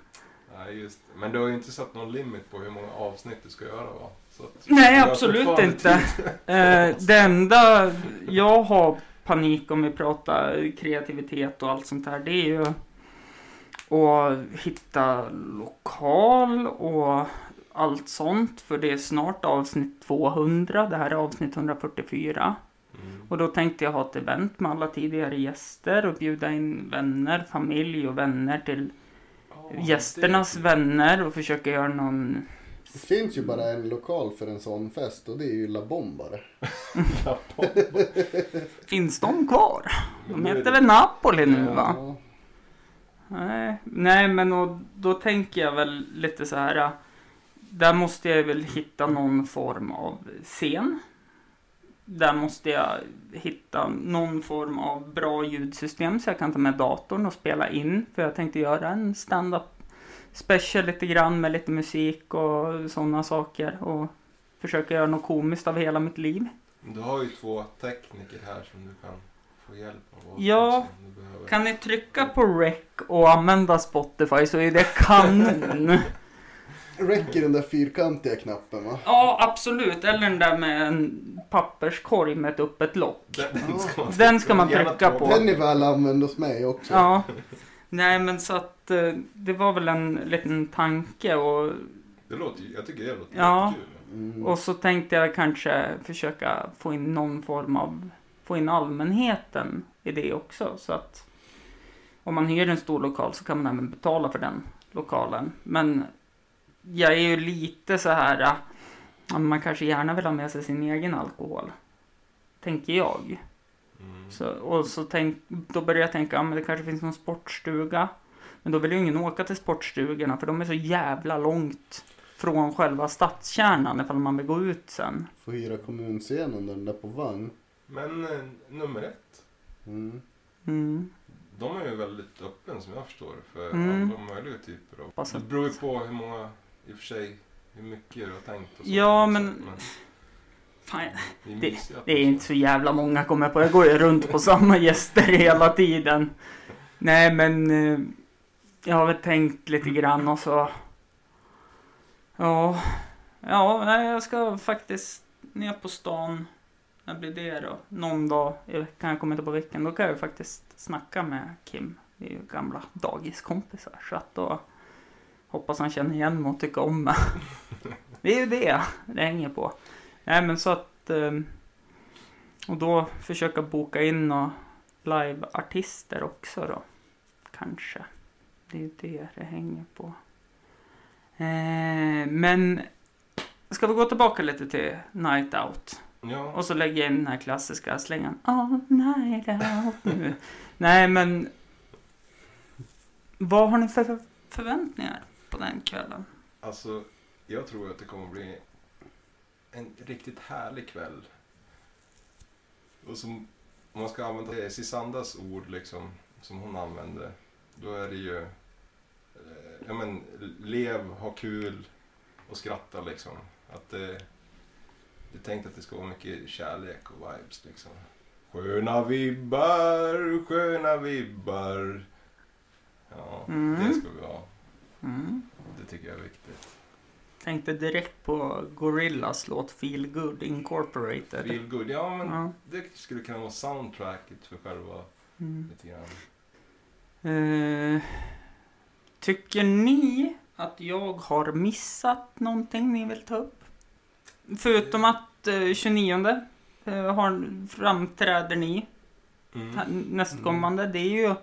Speaker 1: Nej, just det. Men du har ju inte satt någon limit på hur många avsnitt du ska göra va? Så att,
Speaker 2: Nej,
Speaker 1: du har
Speaker 2: absolut
Speaker 1: fortfarande
Speaker 2: inte.
Speaker 1: tid.
Speaker 2: Eh, det enda jag har panik om vi pratar kreativitet och allt sånt här, det är ju att hitta lokal och allt sånt. För det är snart avsnitt 200. Det här är avsnitt 144.
Speaker 1: Mm.
Speaker 2: Och då tänkte jag ha ett event med alla tidigare gäster och bjuda in vänner, familj och vänner till gästernas vänner och försöka göra någon...
Speaker 3: Det finns ju bara en lokal för en sån fest och det är ju La Bombare.
Speaker 2: Finns de kvar? De heter väl Napoli nu va?
Speaker 3: Ja.
Speaker 2: Nej, nej men och då tänker jag väl lite så här. äh, Där måste jag väl hitta någon form av scen. Där måste jag hitta någon form av bra ljudsystem så jag kan ta med datorn och spela in. För jag tänkte göra en stand-up special lite grann med lite musik och sådana saker. Och försöka göra något komiskt av hela mitt liv.
Speaker 1: Du har ju två tekniker här som du kan få hjälp av.
Speaker 2: Ja,
Speaker 1: Om du behöver.
Speaker 2: Kan ni trycka på rec och använda Spotify så är det kanon. [laughs]
Speaker 3: Räcker den där fyrkantiga knappen va?
Speaker 2: Ja, absolut. Eller den där med en papperskorg med ett öppet lock.
Speaker 1: Den, den ska man,
Speaker 2: Den ska man
Speaker 1: Gärna
Speaker 2: trycka
Speaker 1: två.
Speaker 2: på.
Speaker 3: Den är väl använd hos mig också.
Speaker 2: Ja. Nej, men så att eh, det var väl en liten tanke och,
Speaker 1: det låter ju, jag tycker det låter
Speaker 2: Ja.
Speaker 1: jättekul.
Speaker 3: Mm.
Speaker 2: och så tänkte jag kanske försöka få in någon form av, få in allmänheten i det också. Så att om man hyr en stor lokal så kan man även betala för den lokalen. Men jag är ju lite så här, eh, ja, man kanske gärna vill ha med sig sin egen alkohol. Tänker jag.
Speaker 1: Mm.
Speaker 2: Så, och så tänk, då började jag tänka, ja, men det kanske finns någon sportstuga. Men då vill ju ingen åka till sportstugorna för de är så jävla långt från själva stadskärnan ifall man vill gå ut sen.
Speaker 3: Får hyra kommunscenen den där på vagn.
Speaker 1: Men eh, nummer ett,
Speaker 3: Mm.
Speaker 2: Mm.
Speaker 1: de är ju väldigt öppen som jag förstår för
Speaker 2: Mm.
Speaker 1: alla möjliga typer av...
Speaker 2: Hoppas
Speaker 1: Det
Speaker 2: att-
Speaker 1: beror ju på hur många, i och för sig, hur mycket du har tänkt och så.
Speaker 2: Ja,
Speaker 1: Så,
Speaker 2: men- Fan,
Speaker 1: det är
Speaker 2: det-
Speaker 1: mysiga
Speaker 2: det är
Speaker 1: på
Speaker 2: inte
Speaker 1: sätt.
Speaker 2: så jävla många kommer jag på. Jag går ju runt på samma gäster hela tiden. Nej men eh, jag har väl tänkt lite grann och så. Ja, ja nej, jag ska faktiskt ner på stan. När blir det då? Någon dag i veckan. Jag kommer inte på vilken. Då kan jag ju faktiskt snacka med Kim. Vi är ju gamla dagiskompisar. Så att då hoppas han känner igen mig och tycker om mig. Det är ju det det hänger på. Nej men så att... eh, Och då försöka boka in några liveartister också då. Kanske. Det är ju det det hänger på. Eh, Men... Ska vi gå tillbaka lite till Night Out?
Speaker 1: Ja,
Speaker 2: Och så lägger jag in den här klassiska slängan. All night out
Speaker 1: [laughs]
Speaker 2: nu. Nej men. Vad har ni för för förväntningar på den kvällen?
Speaker 1: Alltså, jag tror att det kommer bli en riktigt härlig kväll. Och som, om man ska använda eh, Sisandas ord liksom, som hon använde, då är det ju, eh, ja men, lev, ha kul och skratta liksom. Att eh, det är tänkt att det ska vara mycket kärlek och vibes liksom. Sköna vibbar, sköna vibbar. Ja,
Speaker 2: Mm.
Speaker 1: det ska vi ha.
Speaker 2: Mm.
Speaker 1: Det tycker jag är viktigt.
Speaker 2: Tänkte direkt på Gorillas låt Feel Good Incorporated.
Speaker 1: Feel good. Ja, men
Speaker 2: Ja.
Speaker 1: det skulle kunna vara soundtracket för själva
Speaker 2: Mm.
Speaker 1: lite grann.
Speaker 2: Eh, tycker ni att jag har missat någonting ni vill ta upp? Förutom att eh, 29 eh, har, framträder ni
Speaker 1: Mm.
Speaker 2: Ta- Nästkommande, det är ju...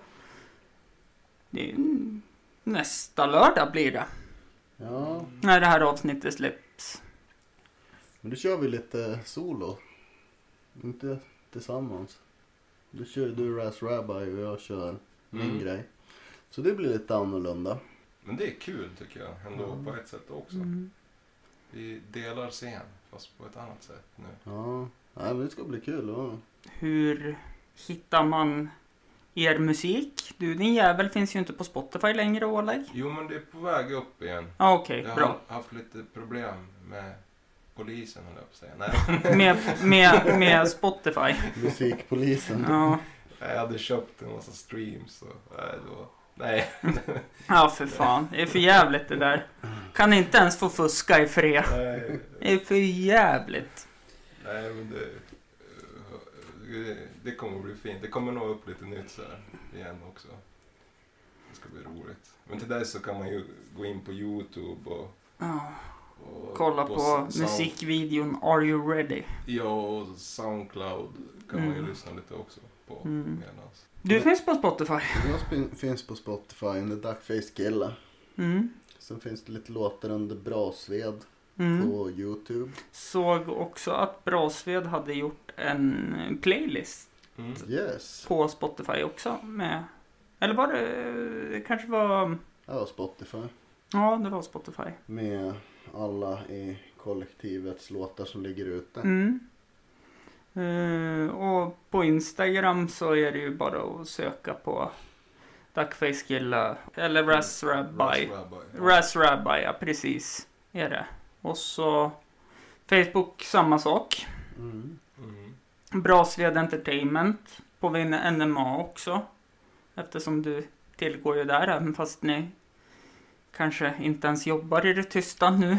Speaker 2: Det är ju nästa lördag blir
Speaker 1: Mm.
Speaker 2: det.
Speaker 3: Ja,
Speaker 2: När det här avsnittet släpps.
Speaker 3: men då kör vi lite solo. Inte tillsammans. Då kör ju du Raz Rabbi och jag kör min
Speaker 1: Mm.
Speaker 3: grej. Så det blir lite annorlunda.
Speaker 1: Men det är kul tycker jag ändå på ett sätt också.
Speaker 2: Mm.
Speaker 1: Vi delar scen fast på ett annat sätt nu.
Speaker 3: Ja, Nej, men det ska bli kul. Ja.
Speaker 2: Hur hittar man er musik? Du din jävel finns ju inte på Spotify längre Oleg.
Speaker 1: Jo men det är på väg upp igen.
Speaker 2: Ja okej,
Speaker 1: Jag
Speaker 2: bra.
Speaker 1: har haft lite problem med polisen höll jag på att
Speaker 2: [laughs]
Speaker 1: säga. Nej,
Speaker 2: Med, med, med Spotify.
Speaker 3: Musikpolisen.
Speaker 2: Ja,
Speaker 1: jag hade köpt en massa streams och nej, det var... Nej,
Speaker 2: ja för fan. Det är för jävligt det där. Kan inte ens få fuska i fred.
Speaker 1: nej,
Speaker 2: Det är för jävligt.
Speaker 1: nej men det... eh, Det kommer bli fint. Det kommer nå upp lite nytt så här igen också. Det ska bli roligt. Men till dess så kan man ju gå in på Youtube och
Speaker 2: Ja.
Speaker 1: och
Speaker 2: kolla på,
Speaker 1: på Sound-
Speaker 2: musikvideon Are You Ready?
Speaker 1: Ja, och Soundcloud kan man ju
Speaker 2: Mm.
Speaker 1: lyssna lite också på.
Speaker 2: Mm.
Speaker 1: medans.
Speaker 2: Du
Speaker 3: Men-
Speaker 2: finns på Spotify.
Speaker 3: Jag spin- finns på Spotify under Duckface Killa.
Speaker 2: Mm.
Speaker 3: Sen finns det lite låtar under Brasved
Speaker 2: Mm.
Speaker 3: på Youtube.
Speaker 2: Såg också att Brasved hade gjort en playlist
Speaker 1: Mm.
Speaker 3: Yes.
Speaker 2: på Spotify också med... Eller var det... Det kanske var...
Speaker 3: Ja, Spotify.
Speaker 2: Ja, det var Spotify.
Speaker 3: Med alla i kollektivets låtar som ligger ute.
Speaker 2: Mm. Eh, och på Instagram så är det ju bara att söka på Duckface Killa eller Raz Rabbi.
Speaker 1: Raspberry.
Speaker 2: Raz Rabbi, ja precis. Är det. Och så Facebook, samma sak.
Speaker 3: Mm.
Speaker 1: Mm.
Speaker 2: Brasved Entertainment på Vinna NMA också. Eftersom du tillgår ju där även fast ni kanske inte ens jobbar i det tysta nu.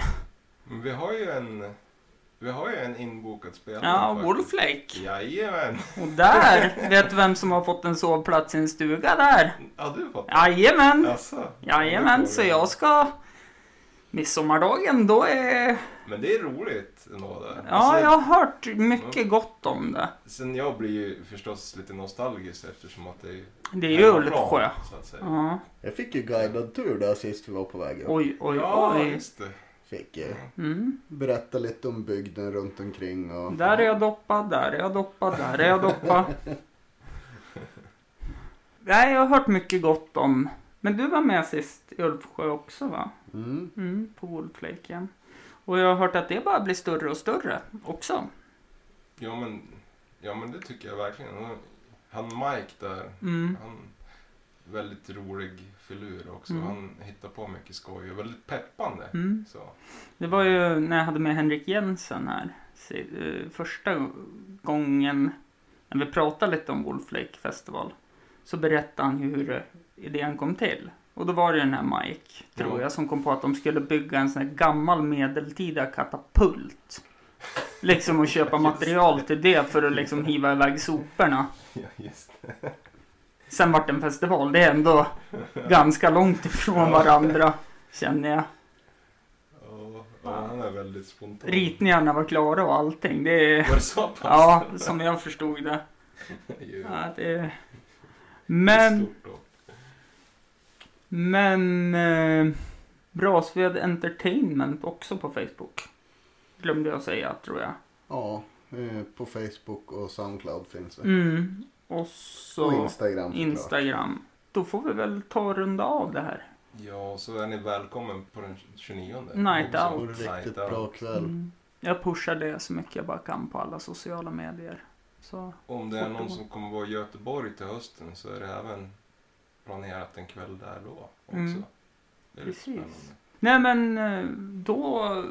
Speaker 1: Men vi har ju en, vi har ju en inbokad spelare
Speaker 2: Ja,
Speaker 1: faktiskt.
Speaker 2: Wolflake.
Speaker 1: Jajamän.
Speaker 2: Och där, vet du vem som har fått en sovplats i en stuga där?
Speaker 1: Ja, du fattar.
Speaker 2: Jajamän!
Speaker 1: Alltså,
Speaker 2: Jajamän, så jag ska... Midsommardagen, då är...
Speaker 1: Men det är roligt ändå. Där.
Speaker 2: Ja, jag har hört mycket gott om det.
Speaker 1: Sen jag blir ju förstås lite nostalgisk eftersom att det är
Speaker 2: Det är ju
Speaker 1: hemmaplan,
Speaker 2: Ulvsjö.
Speaker 1: Så att säga.
Speaker 2: Ja.
Speaker 3: Jag fick ju guidad tur där sist vi var på väg upp.
Speaker 2: Oj, oj,
Speaker 1: Ja,
Speaker 2: oj.
Speaker 1: just det.
Speaker 3: Fick ju
Speaker 2: Mm.
Speaker 3: berätta lite om bygden runt omkring och...
Speaker 2: Där är jag doppad, där är jag doppad, där är jag doppad. Nej, jag har hört mycket gott om. Men du var med sist i Ulvsjö också va?
Speaker 3: Mm.
Speaker 2: Mm, på Wolflaken. Och jag har hört att det bara blir större och större också.
Speaker 1: Ja men, ja, men det tycker jag verkligen. Han Mike där,
Speaker 2: Mm.
Speaker 1: han väldigt rolig filur också.
Speaker 2: Mm.
Speaker 1: Han hittar på mycket skoj och väldigt peppande.
Speaker 2: Mm.
Speaker 1: Så.
Speaker 2: Det var ju när jag hade med Henrik Jensen här. se- eh, Första gången när vi pratade lite om Wolf Lake Festival. Så berättade han ju hur eh, idén kom till. Och då var det den här Mike, tror
Speaker 1: Ja.
Speaker 2: jag, som kom på att de skulle bygga en sån här gammal medeltida katapult. Liksom och köpa material till det för att liksom hiva iväg soporna.
Speaker 1: [laughs] Ja, just det.
Speaker 2: Sen vart det en festival. Det är ändå ganska långt ifrån varandra. Känner jag.
Speaker 1: Ja, ja, han är väldigt spontan.
Speaker 2: Ritningarna var klara och allting. Det är,
Speaker 1: Var det så pass?
Speaker 2: ja, som jag förstod det.
Speaker 1: Det är ju-
Speaker 2: Ja, det är...
Speaker 1: det är
Speaker 2: Men,
Speaker 1: stort då.
Speaker 2: men eh, Brasved Entertainment också på Facebook. Glömde jag säga tror jag.
Speaker 3: Ja, eh, på Facebook och Soundcloud finns vi.
Speaker 2: Mm. Och
Speaker 3: Och
Speaker 2: så
Speaker 3: Instagram såklart.
Speaker 2: Instagram. Då får vi väl ta och runda av det här.
Speaker 1: Ja, så är ni välkommen på den 29.
Speaker 2: Night
Speaker 1: Också.
Speaker 3: Det var en
Speaker 2: out.
Speaker 3: riktigt
Speaker 1: Night
Speaker 3: bra
Speaker 1: out.
Speaker 3: kväll.
Speaker 2: Mm. Jag pushar det så mycket jag bara kan på alla sociala medier. Så.
Speaker 1: Om det är någon
Speaker 2: Fortgå.
Speaker 1: som kommer vara i Göteborg till hösten så är det även planerat en kväll där då också.
Speaker 2: Mm.
Speaker 1: Det är lite
Speaker 2: Precis.
Speaker 1: spännande.
Speaker 2: Nej men eh, då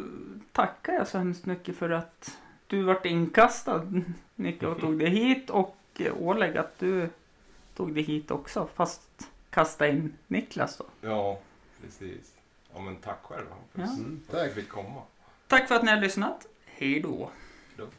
Speaker 2: tackar jag så hemskt mycket för att du vart inkastad [laughs] Nicke och tog dig hit och eh, Oleg att du tog dig hit också fast kasta in Niklas då.
Speaker 1: Ja, precis. Ja, men tack själv Hampus.
Speaker 2: Ja.
Speaker 3: Mm,
Speaker 1: Tack för att
Speaker 3: tack.
Speaker 1: du fick komma.
Speaker 2: Tack för att ni har lyssnat. Hej då.